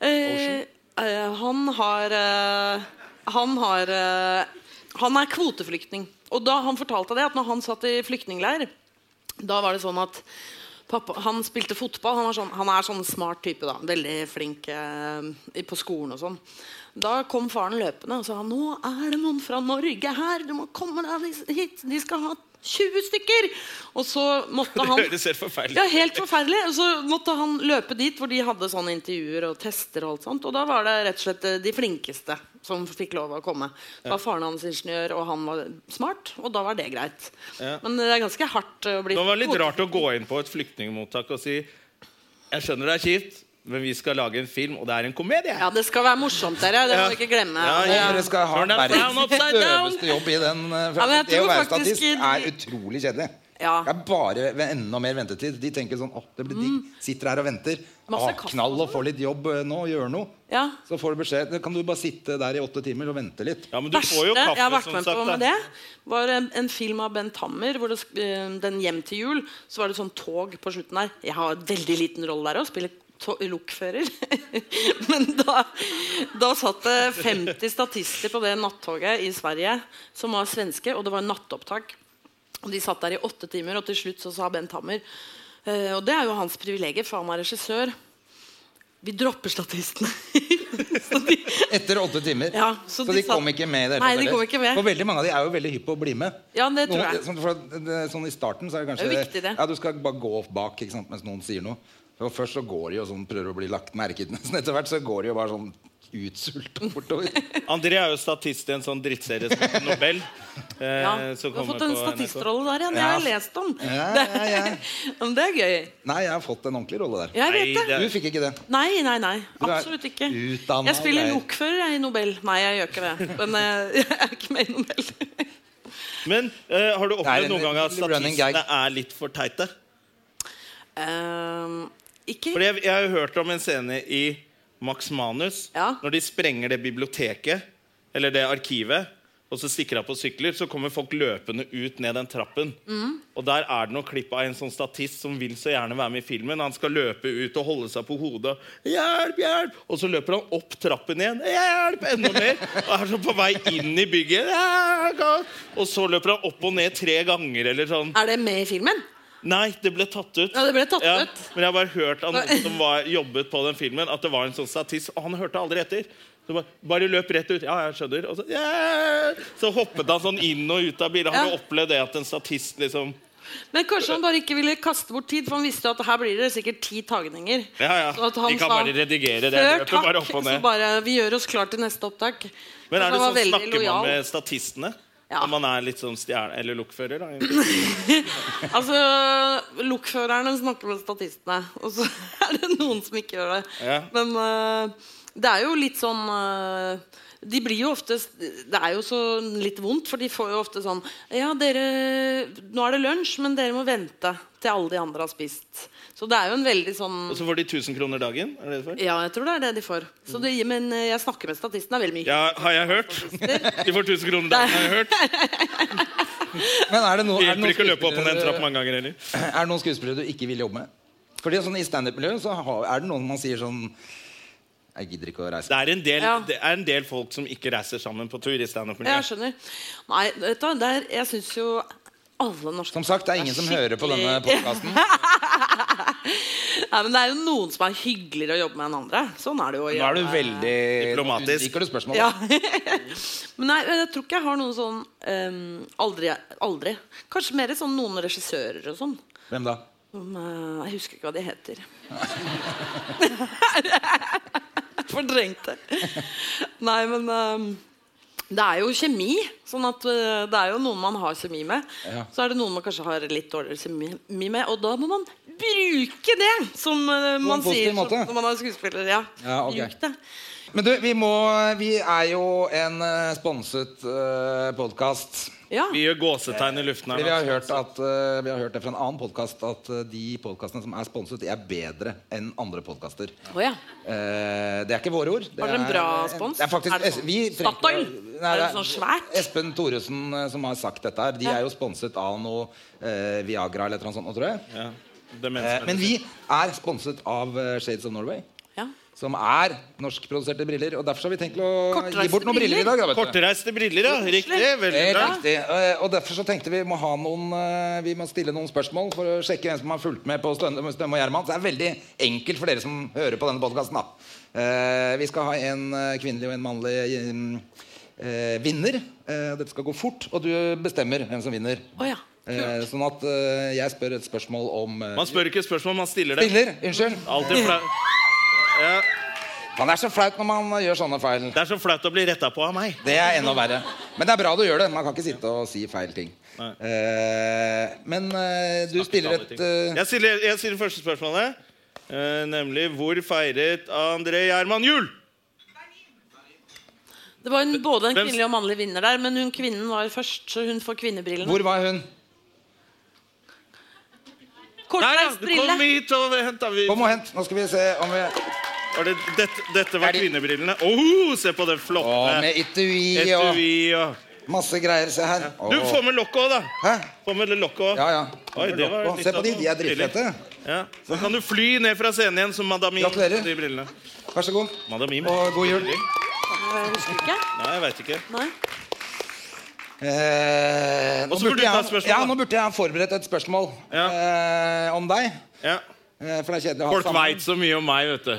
Speaker 3: eh, eh, Han har eh, Han har eh, Han er kvoteflyktning. Og da han fortalte det, at når han satt i flyktningleir da var det sånn at pappa, han spilte fotball. Han, var sånn, han er sånn smart type. da Veldig flink eh, i- på skolen og sånn. Da kom faren løpende og sa nå er det noen fra Norge her. Du må komme deg hit. De skal ha 20 stykker. Og så måtte han
Speaker 1: Det høres helt forferdelig
Speaker 3: ja, helt forferdelig. Og så måtte han løpe dit hvor de hadde sånne intervjuer og tester. Og alt sånt Og da var det rett og slett eh, de flinkeste som fikk lov å komme. Det var faren hans ingeniør, og han var smart, og da var det greit.
Speaker 1: Ja.
Speaker 3: Men det er ganske hardt eh, å bli
Speaker 1: Det var litt
Speaker 3: kvote-
Speaker 1: rart å gå inn på et flyktningmottak og si Jeg skjønner det er kjipt, men vi skal lage en film, og det er en komedie.
Speaker 3: Ja, det skal være morsomt, dere. Det må
Speaker 1: Ja.
Speaker 3: vi ikke glemme.
Speaker 1: Ja,
Speaker 3: Og det-
Speaker 1: ja.
Speaker 2: Dere skal ha
Speaker 1: Turn that
Speaker 2: verdens
Speaker 1: frown upside down.
Speaker 2: døveste jobb i den. eh,
Speaker 3: Ja, men
Speaker 2: det
Speaker 3: jeg
Speaker 2: å
Speaker 3: tror
Speaker 2: være
Speaker 3: faktisk
Speaker 2: statist
Speaker 3: i-
Speaker 2: er utrolig kjedelig.
Speaker 3: Ja. Mm.
Speaker 2: Det er bare ved enda mer ventetid. De tenker sånn åh, det blir digg. Sitter her og venter.
Speaker 3: Masse
Speaker 2: Åh,
Speaker 3: kaffe
Speaker 2: knall
Speaker 3: og sånn.
Speaker 2: og få litt jobb eh, nå. Gjøre noe.
Speaker 3: Ja.
Speaker 2: Så får du beskjed. Kan du bare sitte der i åtte timer og vente litt?
Speaker 1: Ja, men du får jo
Speaker 3: Verste
Speaker 1: kaffe,
Speaker 3: jeg har vært
Speaker 1: som
Speaker 3: med på
Speaker 1: sagt.
Speaker 3: med
Speaker 1: da.
Speaker 3: det, var en, en film av Bent Hammer. Hvor det, sk- eh, den hjem til jul Så var det sånn tog på slutten der. Jeg har veldig liten rolle der òg. Spiller to- lokfører. Men da, da satt det 50 statister på det nattoget i Sverige som var svenske, og det var nattopptak. Og De satt der i åtte timer, og til slutt så sa Bent Hammer eh, Og det er jo hans privilegium, for han er regissør. Vi dropper statistene. så de,
Speaker 2: Etter åtte timer.
Speaker 3: Ja,
Speaker 2: så,
Speaker 3: så
Speaker 2: de,
Speaker 3: de satt-
Speaker 2: kom ikke med i det
Speaker 3: Nei,
Speaker 2: hele
Speaker 3: de
Speaker 2: tatt.
Speaker 3: kom ikke med.
Speaker 2: For veldig mange av de er jo veldig hypp på å bli med.
Speaker 3: Ja, det tror
Speaker 2: Noen-
Speaker 3: jeg.
Speaker 2: Sånn, for, det- sånn I starten så er det kanskje
Speaker 3: Det er viktig, det.
Speaker 2: Ja, du skal bare gå opp bak ikke sant, mens noen sier noe. For først så går de jo sånn, prøver å bli lagt merke til. nesten. Etter hvert så går de jo bare sånn utsulta bortover.
Speaker 1: André er jo statist i en sånn drittserie som heter Nobel. eh,
Speaker 3: Ja,
Speaker 1: som
Speaker 3: du har
Speaker 1: kommer
Speaker 3: fått
Speaker 1: på
Speaker 3: en
Speaker 1: NRK.
Speaker 3: statistrolle der igjen. Det
Speaker 2: Ja.
Speaker 3: har jeg lest om.
Speaker 2: Ja, ja, ja.
Speaker 3: Men det er gøy.
Speaker 2: Nei, jeg har fått en ordentlig rolle der.
Speaker 3: Jeg vet
Speaker 1: Nei,
Speaker 3: det.
Speaker 1: det-
Speaker 2: Du fikk ikke det.
Speaker 3: Nei, nei, nei.
Speaker 2: Du er
Speaker 3: Absolutt ikke.
Speaker 2: utdannet
Speaker 3: Jeg spiller
Speaker 2: og greier.
Speaker 3: lokfører jeg, i Nobel. Nei, jeg gjør ikke det. Men eh, jeg er ikke med i Nobel.
Speaker 1: Men eh, har du
Speaker 2: Det er
Speaker 1: opplevd
Speaker 2: en
Speaker 1: noen gang at
Speaker 2: running gag.
Speaker 1: statistene er litt for teite?
Speaker 3: Ehm, ikke
Speaker 1: Fordi jeg, jeg har jo hørt om en scene i Max Manus
Speaker 3: Ja.
Speaker 1: når de sprenger det biblioteket eller det arkivet. Og så stikker av på sykler, så kommer folk løpende ut ned den trappen. Og der er det noe klipp av en sånn statist som vil så gjerne være med i filmen. Han skal løpe ut og holde seg på hodet. Hjelp, hjelp! Og så løper han opp trappen igjen. Hjelp! Enda mer. Og er så på vei inn i bygget. Hjelp! Og så løper han opp og ned tre ganger eller sånn.
Speaker 3: Er det med i filmen?
Speaker 1: Nei, det ble tatt ut.
Speaker 3: Ja, det ble tatt ut.
Speaker 1: Men jeg har bare hørt av noen som var, jobbet på den filmen, at det var en sånn statist, og han hørte aldri etter. Så bare, bare løp rett ut. Ja, jeg skjønner. Og så, «Ja!» så hoppet han sånn inn og ut av bilen. Har
Speaker 3: Ja.
Speaker 1: du opplevd det at en statist liksom
Speaker 3: Men kanskje han bare ikke ville kaste bort tid, for han visste jo at her blir det sikkert ti tagninger.
Speaker 1: Ja, ja.
Speaker 3: Så at han
Speaker 1: De kan
Speaker 3: sa,
Speaker 1: bare redigere det.
Speaker 3: Før
Speaker 1: Løpet
Speaker 3: takk,
Speaker 1: bare opp og ned.
Speaker 3: så bare Vi gjør oss klar til neste opptak.
Speaker 1: Men er
Speaker 3: Så
Speaker 1: det
Speaker 3: han var
Speaker 1: sånn
Speaker 3: veldig
Speaker 1: snakker
Speaker 3: lojal.
Speaker 1: man med statistene?
Speaker 3: Ja.
Speaker 1: Om man er litt sånn stjerne... Eller lokfører, da.
Speaker 3: Altså, Lokførerne snakker med statistene, og så er det noen som ikke gjør det.
Speaker 1: Ja.
Speaker 3: Men eh, det er jo litt sånn eh, De blir jo ofte Det er jo så litt vondt, for de får jo ofte sånn Ja, dere Nå er det lunsj, men dere må vente til alle de andre har spist. Så det er jo en veldig sånn
Speaker 1: Og så får de 1000 kroner dagen? Er det det for?
Speaker 3: Ja, jeg tror det er det de får. Så det, men eh, jeg snakker med statistene veldig mye.
Speaker 1: Ja, har jeg hørt? De får 1000 kroner dagen, har jeg hørt.
Speaker 2: Men
Speaker 1: De
Speaker 2: er det, noen- er det noen
Speaker 1: hjelper ikke å løpe opp og ned en
Speaker 2: skuespillere-
Speaker 1: trapp mange ganger heller.
Speaker 2: Er det noen skuespillere du ikke vil jobbe med? Fordi sånn I standup-miljøet så har- er det noen man sier sånn Jeg gidder ikke å reise.
Speaker 1: Det er en del,
Speaker 3: Ja.
Speaker 1: det er en del folk som ikke reiser sammen på tur i
Speaker 3: Jeg
Speaker 1: standup-miljøet.
Speaker 3: skjønner. Nei, vet du, hva, der, jeg syns jo alle norske
Speaker 2: Som sagt, det er ingen som hører på denne
Speaker 3: skikkelig-
Speaker 2: podkasten.
Speaker 3: Nei, men Det er jo noen som er hyggeligere å jobbe med enn andre. Sånn er det jo.
Speaker 2: Nå
Speaker 3: å
Speaker 2: er du
Speaker 3: gjøre-
Speaker 2: Eh, veldig
Speaker 1: Diplomatisk.
Speaker 2: Nå Liker du spørsmålet?
Speaker 3: Ja. men nei, jeg tror ikke jeg har noen sånn ehm, Aldri. aldri Kanskje mer sånn noen regissører og sånn.
Speaker 2: Hvem da?
Speaker 3: Som, eh, jeg husker ikke hva de heter. Fordrengt det. Nei, men ehm, det er jo kjemi. Sånn at eh, Det er jo noen man har kjemi med.
Speaker 2: Ja.
Speaker 3: Så er det noen man kanskje har litt dårligere kjemi med. Og da må man bruke det, som eh, man
Speaker 2: positiv
Speaker 3: sier som,
Speaker 2: måte.
Speaker 3: når man er skuespiller. Ja.
Speaker 2: Ja, ok.
Speaker 3: Bruk det.
Speaker 2: Men du, vi må Vi er jo en eh, sponset uh, podkast.
Speaker 3: Ja.
Speaker 1: Vi gjør gåsetegn i luften
Speaker 2: Fordi vi
Speaker 1: her.
Speaker 2: har hørt, at, eh, vi har hørt det fra en annen podkast at eh, de podkastene som er sponset, de er bedre enn andre podkaster.
Speaker 3: Å ja.
Speaker 2: Eh, det er ikke våre ord. Det
Speaker 3: Var det
Speaker 2: er-
Speaker 3: en
Speaker 2: eh,
Speaker 3: bra spons?
Speaker 2: Det er faktisk,
Speaker 3: Er det sånn
Speaker 2: vi trenger ikke-
Speaker 3: Statoil?
Speaker 2: Nei,
Speaker 3: Er det
Speaker 2: er
Speaker 3: sånn svært?
Speaker 2: Espen Thoresen eh, som har sagt dette her. De
Speaker 3: Ja.
Speaker 2: er jo sponset av noe eh, Viagra eller noe sånt. nå, Tror jeg.
Speaker 1: Ja. Demensmedisin.
Speaker 2: Eh, men vi er sponset av eh, Shades of Norway.
Speaker 3: ja.
Speaker 2: Som er norskproduserte briller. Og derfor så har vi tenkt å gi
Speaker 3: Kortreiste
Speaker 2: bort noen briller, i
Speaker 3: briller.
Speaker 2: dag. Da, vet du.
Speaker 1: Kortreiste briller, ja. Riktig. Veldig
Speaker 2: Eh,
Speaker 1: bra.
Speaker 2: Riktig. Eh, Og derfor så tenkte vi må ha noen eh, Vi må stille noen spørsmål for å sjekke hvem som har fulgt med på Stønne Stømme og Gjerman. Så det er veldig enkelt for dere som hører på denne podkasten. Vi skal ha en eh, kvinnelig og en mannlig eh, eh, vinner. Eh, Dette skal gå fort, og du bestemmer hvem som vinner.
Speaker 3: Å ja.
Speaker 2: Eh, Sånn at eh, jeg spør et spørsmål om eh,
Speaker 1: Man spør ikke spørsmål, man stiller det.
Speaker 2: Spiller, unnskyld.
Speaker 1: Alltid flau. Ja.
Speaker 2: Man er så flaut når man gjør sånne feil.
Speaker 1: Det er så flaut å bli retta på av meg.
Speaker 2: Det er enda verre. Men det er bra du gjør det. Man kan ikke sitte og si feil ting.
Speaker 1: Nei.
Speaker 2: Eh, men eh, du stiller
Speaker 1: Samme
Speaker 2: et
Speaker 1: ting.
Speaker 2: eh,
Speaker 1: Jeg stiller, jeg stiller første spørsmålet. eh, nemlig hvor feiret André Gjerman jul?
Speaker 3: Det var en, både en
Speaker 1: Hvem-
Speaker 3: kvinnelig og mannlig vinner der, men hun kvinnen var først, så hun får kvinnebrillene.
Speaker 2: Hvor var hun?
Speaker 1: Nei, ja,
Speaker 3: Kortreist
Speaker 1: kom
Speaker 3: brille.
Speaker 1: hit og hent, da. Vi,
Speaker 2: Kom og hent. Nå skal vi se om vi
Speaker 1: var det, dette, dette var
Speaker 2: Er de-
Speaker 1: kvinnebrillene. Oh, se på det
Speaker 2: Å,
Speaker 1: flotte
Speaker 2: med etui og
Speaker 1: etui og
Speaker 2: masse greier. Se her. Å.
Speaker 1: Du, få med lokket òg, da.
Speaker 2: Hæ?
Speaker 1: Få med det lokket òg.
Speaker 2: Ja, ja.
Speaker 1: Oi, det var
Speaker 2: Å,
Speaker 1: litt sånn av
Speaker 2: se på de.
Speaker 1: noe
Speaker 2: De er dritfete.
Speaker 1: stilig. Ja. Så kan du fly ned fra scenen igjen som Madame Im.
Speaker 2: Gratulerer.
Speaker 1: De brillene.
Speaker 2: Vær så god.
Speaker 1: Madame Im.
Speaker 2: Og god jul.
Speaker 3: Jeg husker ikke.
Speaker 1: Nei, jeg veit ikke.
Speaker 3: Nei.
Speaker 2: Eh, nå
Speaker 1: Og så burde du ta et
Speaker 2: jeg,
Speaker 1: spørsmål,
Speaker 2: ja,
Speaker 1: da.
Speaker 2: nå burde jeg ha forberedt et spørsmål
Speaker 1: Ja.
Speaker 2: eh, om deg.
Speaker 1: Ja.
Speaker 2: Eh, for det er kjedelig å ha
Speaker 1: Folk veit så mye om meg, vet du.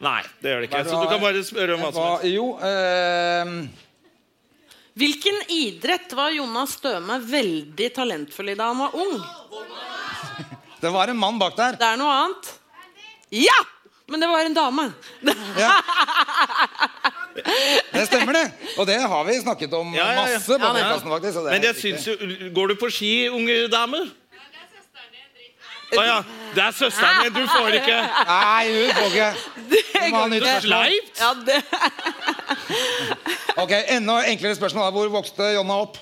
Speaker 1: Nei, det gjør de
Speaker 2: Hva
Speaker 1: ikke.
Speaker 2: er det
Speaker 1: Så
Speaker 2: du
Speaker 1: du kan
Speaker 2: har-
Speaker 1: bare spørre om hva som helst.
Speaker 2: Hva- Jo eh,
Speaker 3: Hvilken idrett var Jonas Støme veldig talentfull i da han var ung?
Speaker 2: Det var en mann bak der.
Speaker 3: Det er noe annet. Ja! Men det var en dame.
Speaker 2: Det stemmer, det. Og det har vi snakket om
Speaker 1: Ja, ja, ja.
Speaker 2: masse på
Speaker 3: Ja, men-
Speaker 2: podcasten, faktisk. så det er
Speaker 1: Men jeg
Speaker 2: helt
Speaker 1: syns jo Går du på ski, unge dame? Å ja. Det er søsteren din. Du får ikke
Speaker 2: riktig. Nei, hun får ikke Hun må ha nytt spørsmål.
Speaker 1: Sleipt?
Speaker 3: Ja, det.
Speaker 2: Ok, Enda enklere spørsmål. da. Hvor vokste Jonna opp?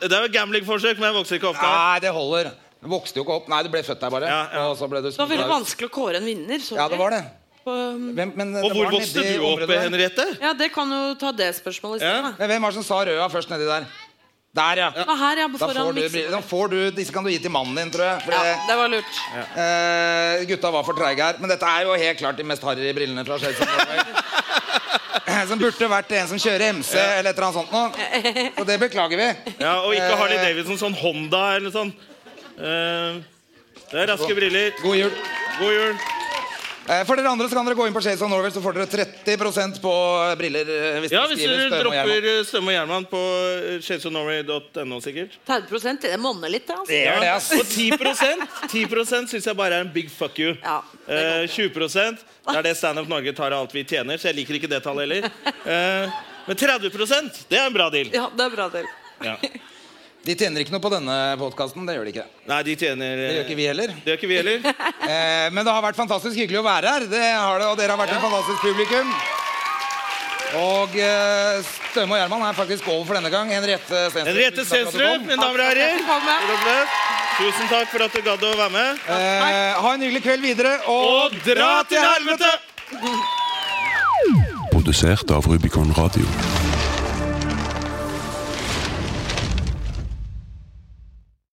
Speaker 1: Det er jo et gamblingforsøk, men jeg vokser ikke opp da.
Speaker 2: Nei, det holder. Hun vokste jo ikke opp. Nei, du ble født der, bare.
Speaker 1: Ja, ja.
Speaker 2: Og så ble du
Speaker 3: Det var veldig
Speaker 2: smuglet ut.
Speaker 3: vanskelig å kåre en vinner. sorry.
Speaker 2: Ja, det var det.
Speaker 3: På- um,
Speaker 2: Hvem, men,
Speaker 1: Og
Speaker 2: det
Speaker 1: hvor
Speaker 2: var
Speaker 1: vokste
Speaker 2: nedi
Speaker 1: du opp,
Speaker 2: området der.
Speaker 1: Henriette?
Speaker 3: Ja, det kan jo ta det spørsmålet i
Speaker 1: Ja.
Speaker 3: stedet. da.
Speaker 2: Men hvem var det som sa røda først nedi der? Der, ja.
Speaker 3: Det var her, ja,
Speaker 2: Da får,
Speaker 3: foran
Speaker 2: du,
Speaker 3: miksen.
Speaker 2: da får du Disse kan du gi til mannen din, tror jeg. For
Speaker 3: Ja,
Speaker 2: det-
Speaker 3: det var lurt.
Speaker 2: Eh, gutta var for treige her, men dette er jo helt klart de mest harry brillene fra Shades of Norway. Som burde vært en som kjører MC eller et eller annet sånt noe. Så det beklager vi.
Speaker 1: Ja, Og ikke
Speaker 2: Eh.
Speaker 1: Harley Davidson, sånn Honda eller sånn. Eh, det er raske briller.
Speaker 2: God jul.
Speaker 1: God jul.
Speaker 2: Eh, for dere andre så kan dere gå inn på Shades of Norway, så får dere 30 på briller. eh, Hvis
Speaker 1: Ja,
Speaker 2: dere
Speaker 1: hvis
Speaker 2: skriver
Speaker 1: dere
Speaker 2: Støme og Gjerman.
Speaker 1: dropper eh, Stømme og Gjerman på eh, shadesofnorway.no, sikkert.
Speaker 3: 30 det monner litt, det. Altså.
Speaker 2: Det gjør det, ass.
Speaker 1: Og 10 10 syns jeg bare er en big fuck you.
Speaker 3: Ja, det
Speaker 1: Eh, 20 det er det Standup Norge tar av alt vi tjener, så jeg liker ikke det tallet heller. Eh, men 30 det er en bra deal.
Speaker 3: Ja, det er bra del.
Speaker 1: Ja.
Speaker 2: De tjener ikke noe på denne podkasten. Det gjør de ikke.
Speaker 1: Nei, de tjener eh,
Speaker 2: Det gjør ikke vi heller.
Speaker 1: Det gjør ikke vi heller.
Speaker 2: Eh, men det har vært fantastisk hyggelig å være her. Det har det, Og dere har vært en fantastisk publikum. Og eh, Støme og Gjerman er faktisk over for denne gang. Henriette Stenstrup.
Speaker 1: Henriette
Speaker 2: tusen takk for at du
Speaker 1: Stenstrup,
Speaker 2: kom.
Speaker 1: mine damer og
Speaker 3: Takk for at du kom
Speaker 1: herrer. Tusen takk for at du gadd å være med.
Speaker 2: Eh, ha en hyggelig kveld videre,
Speaker 1: Og
Speaker 2: og,
Speaker 1: dra til helvete!
Speaker 4: Produsert av Rubicon Radio.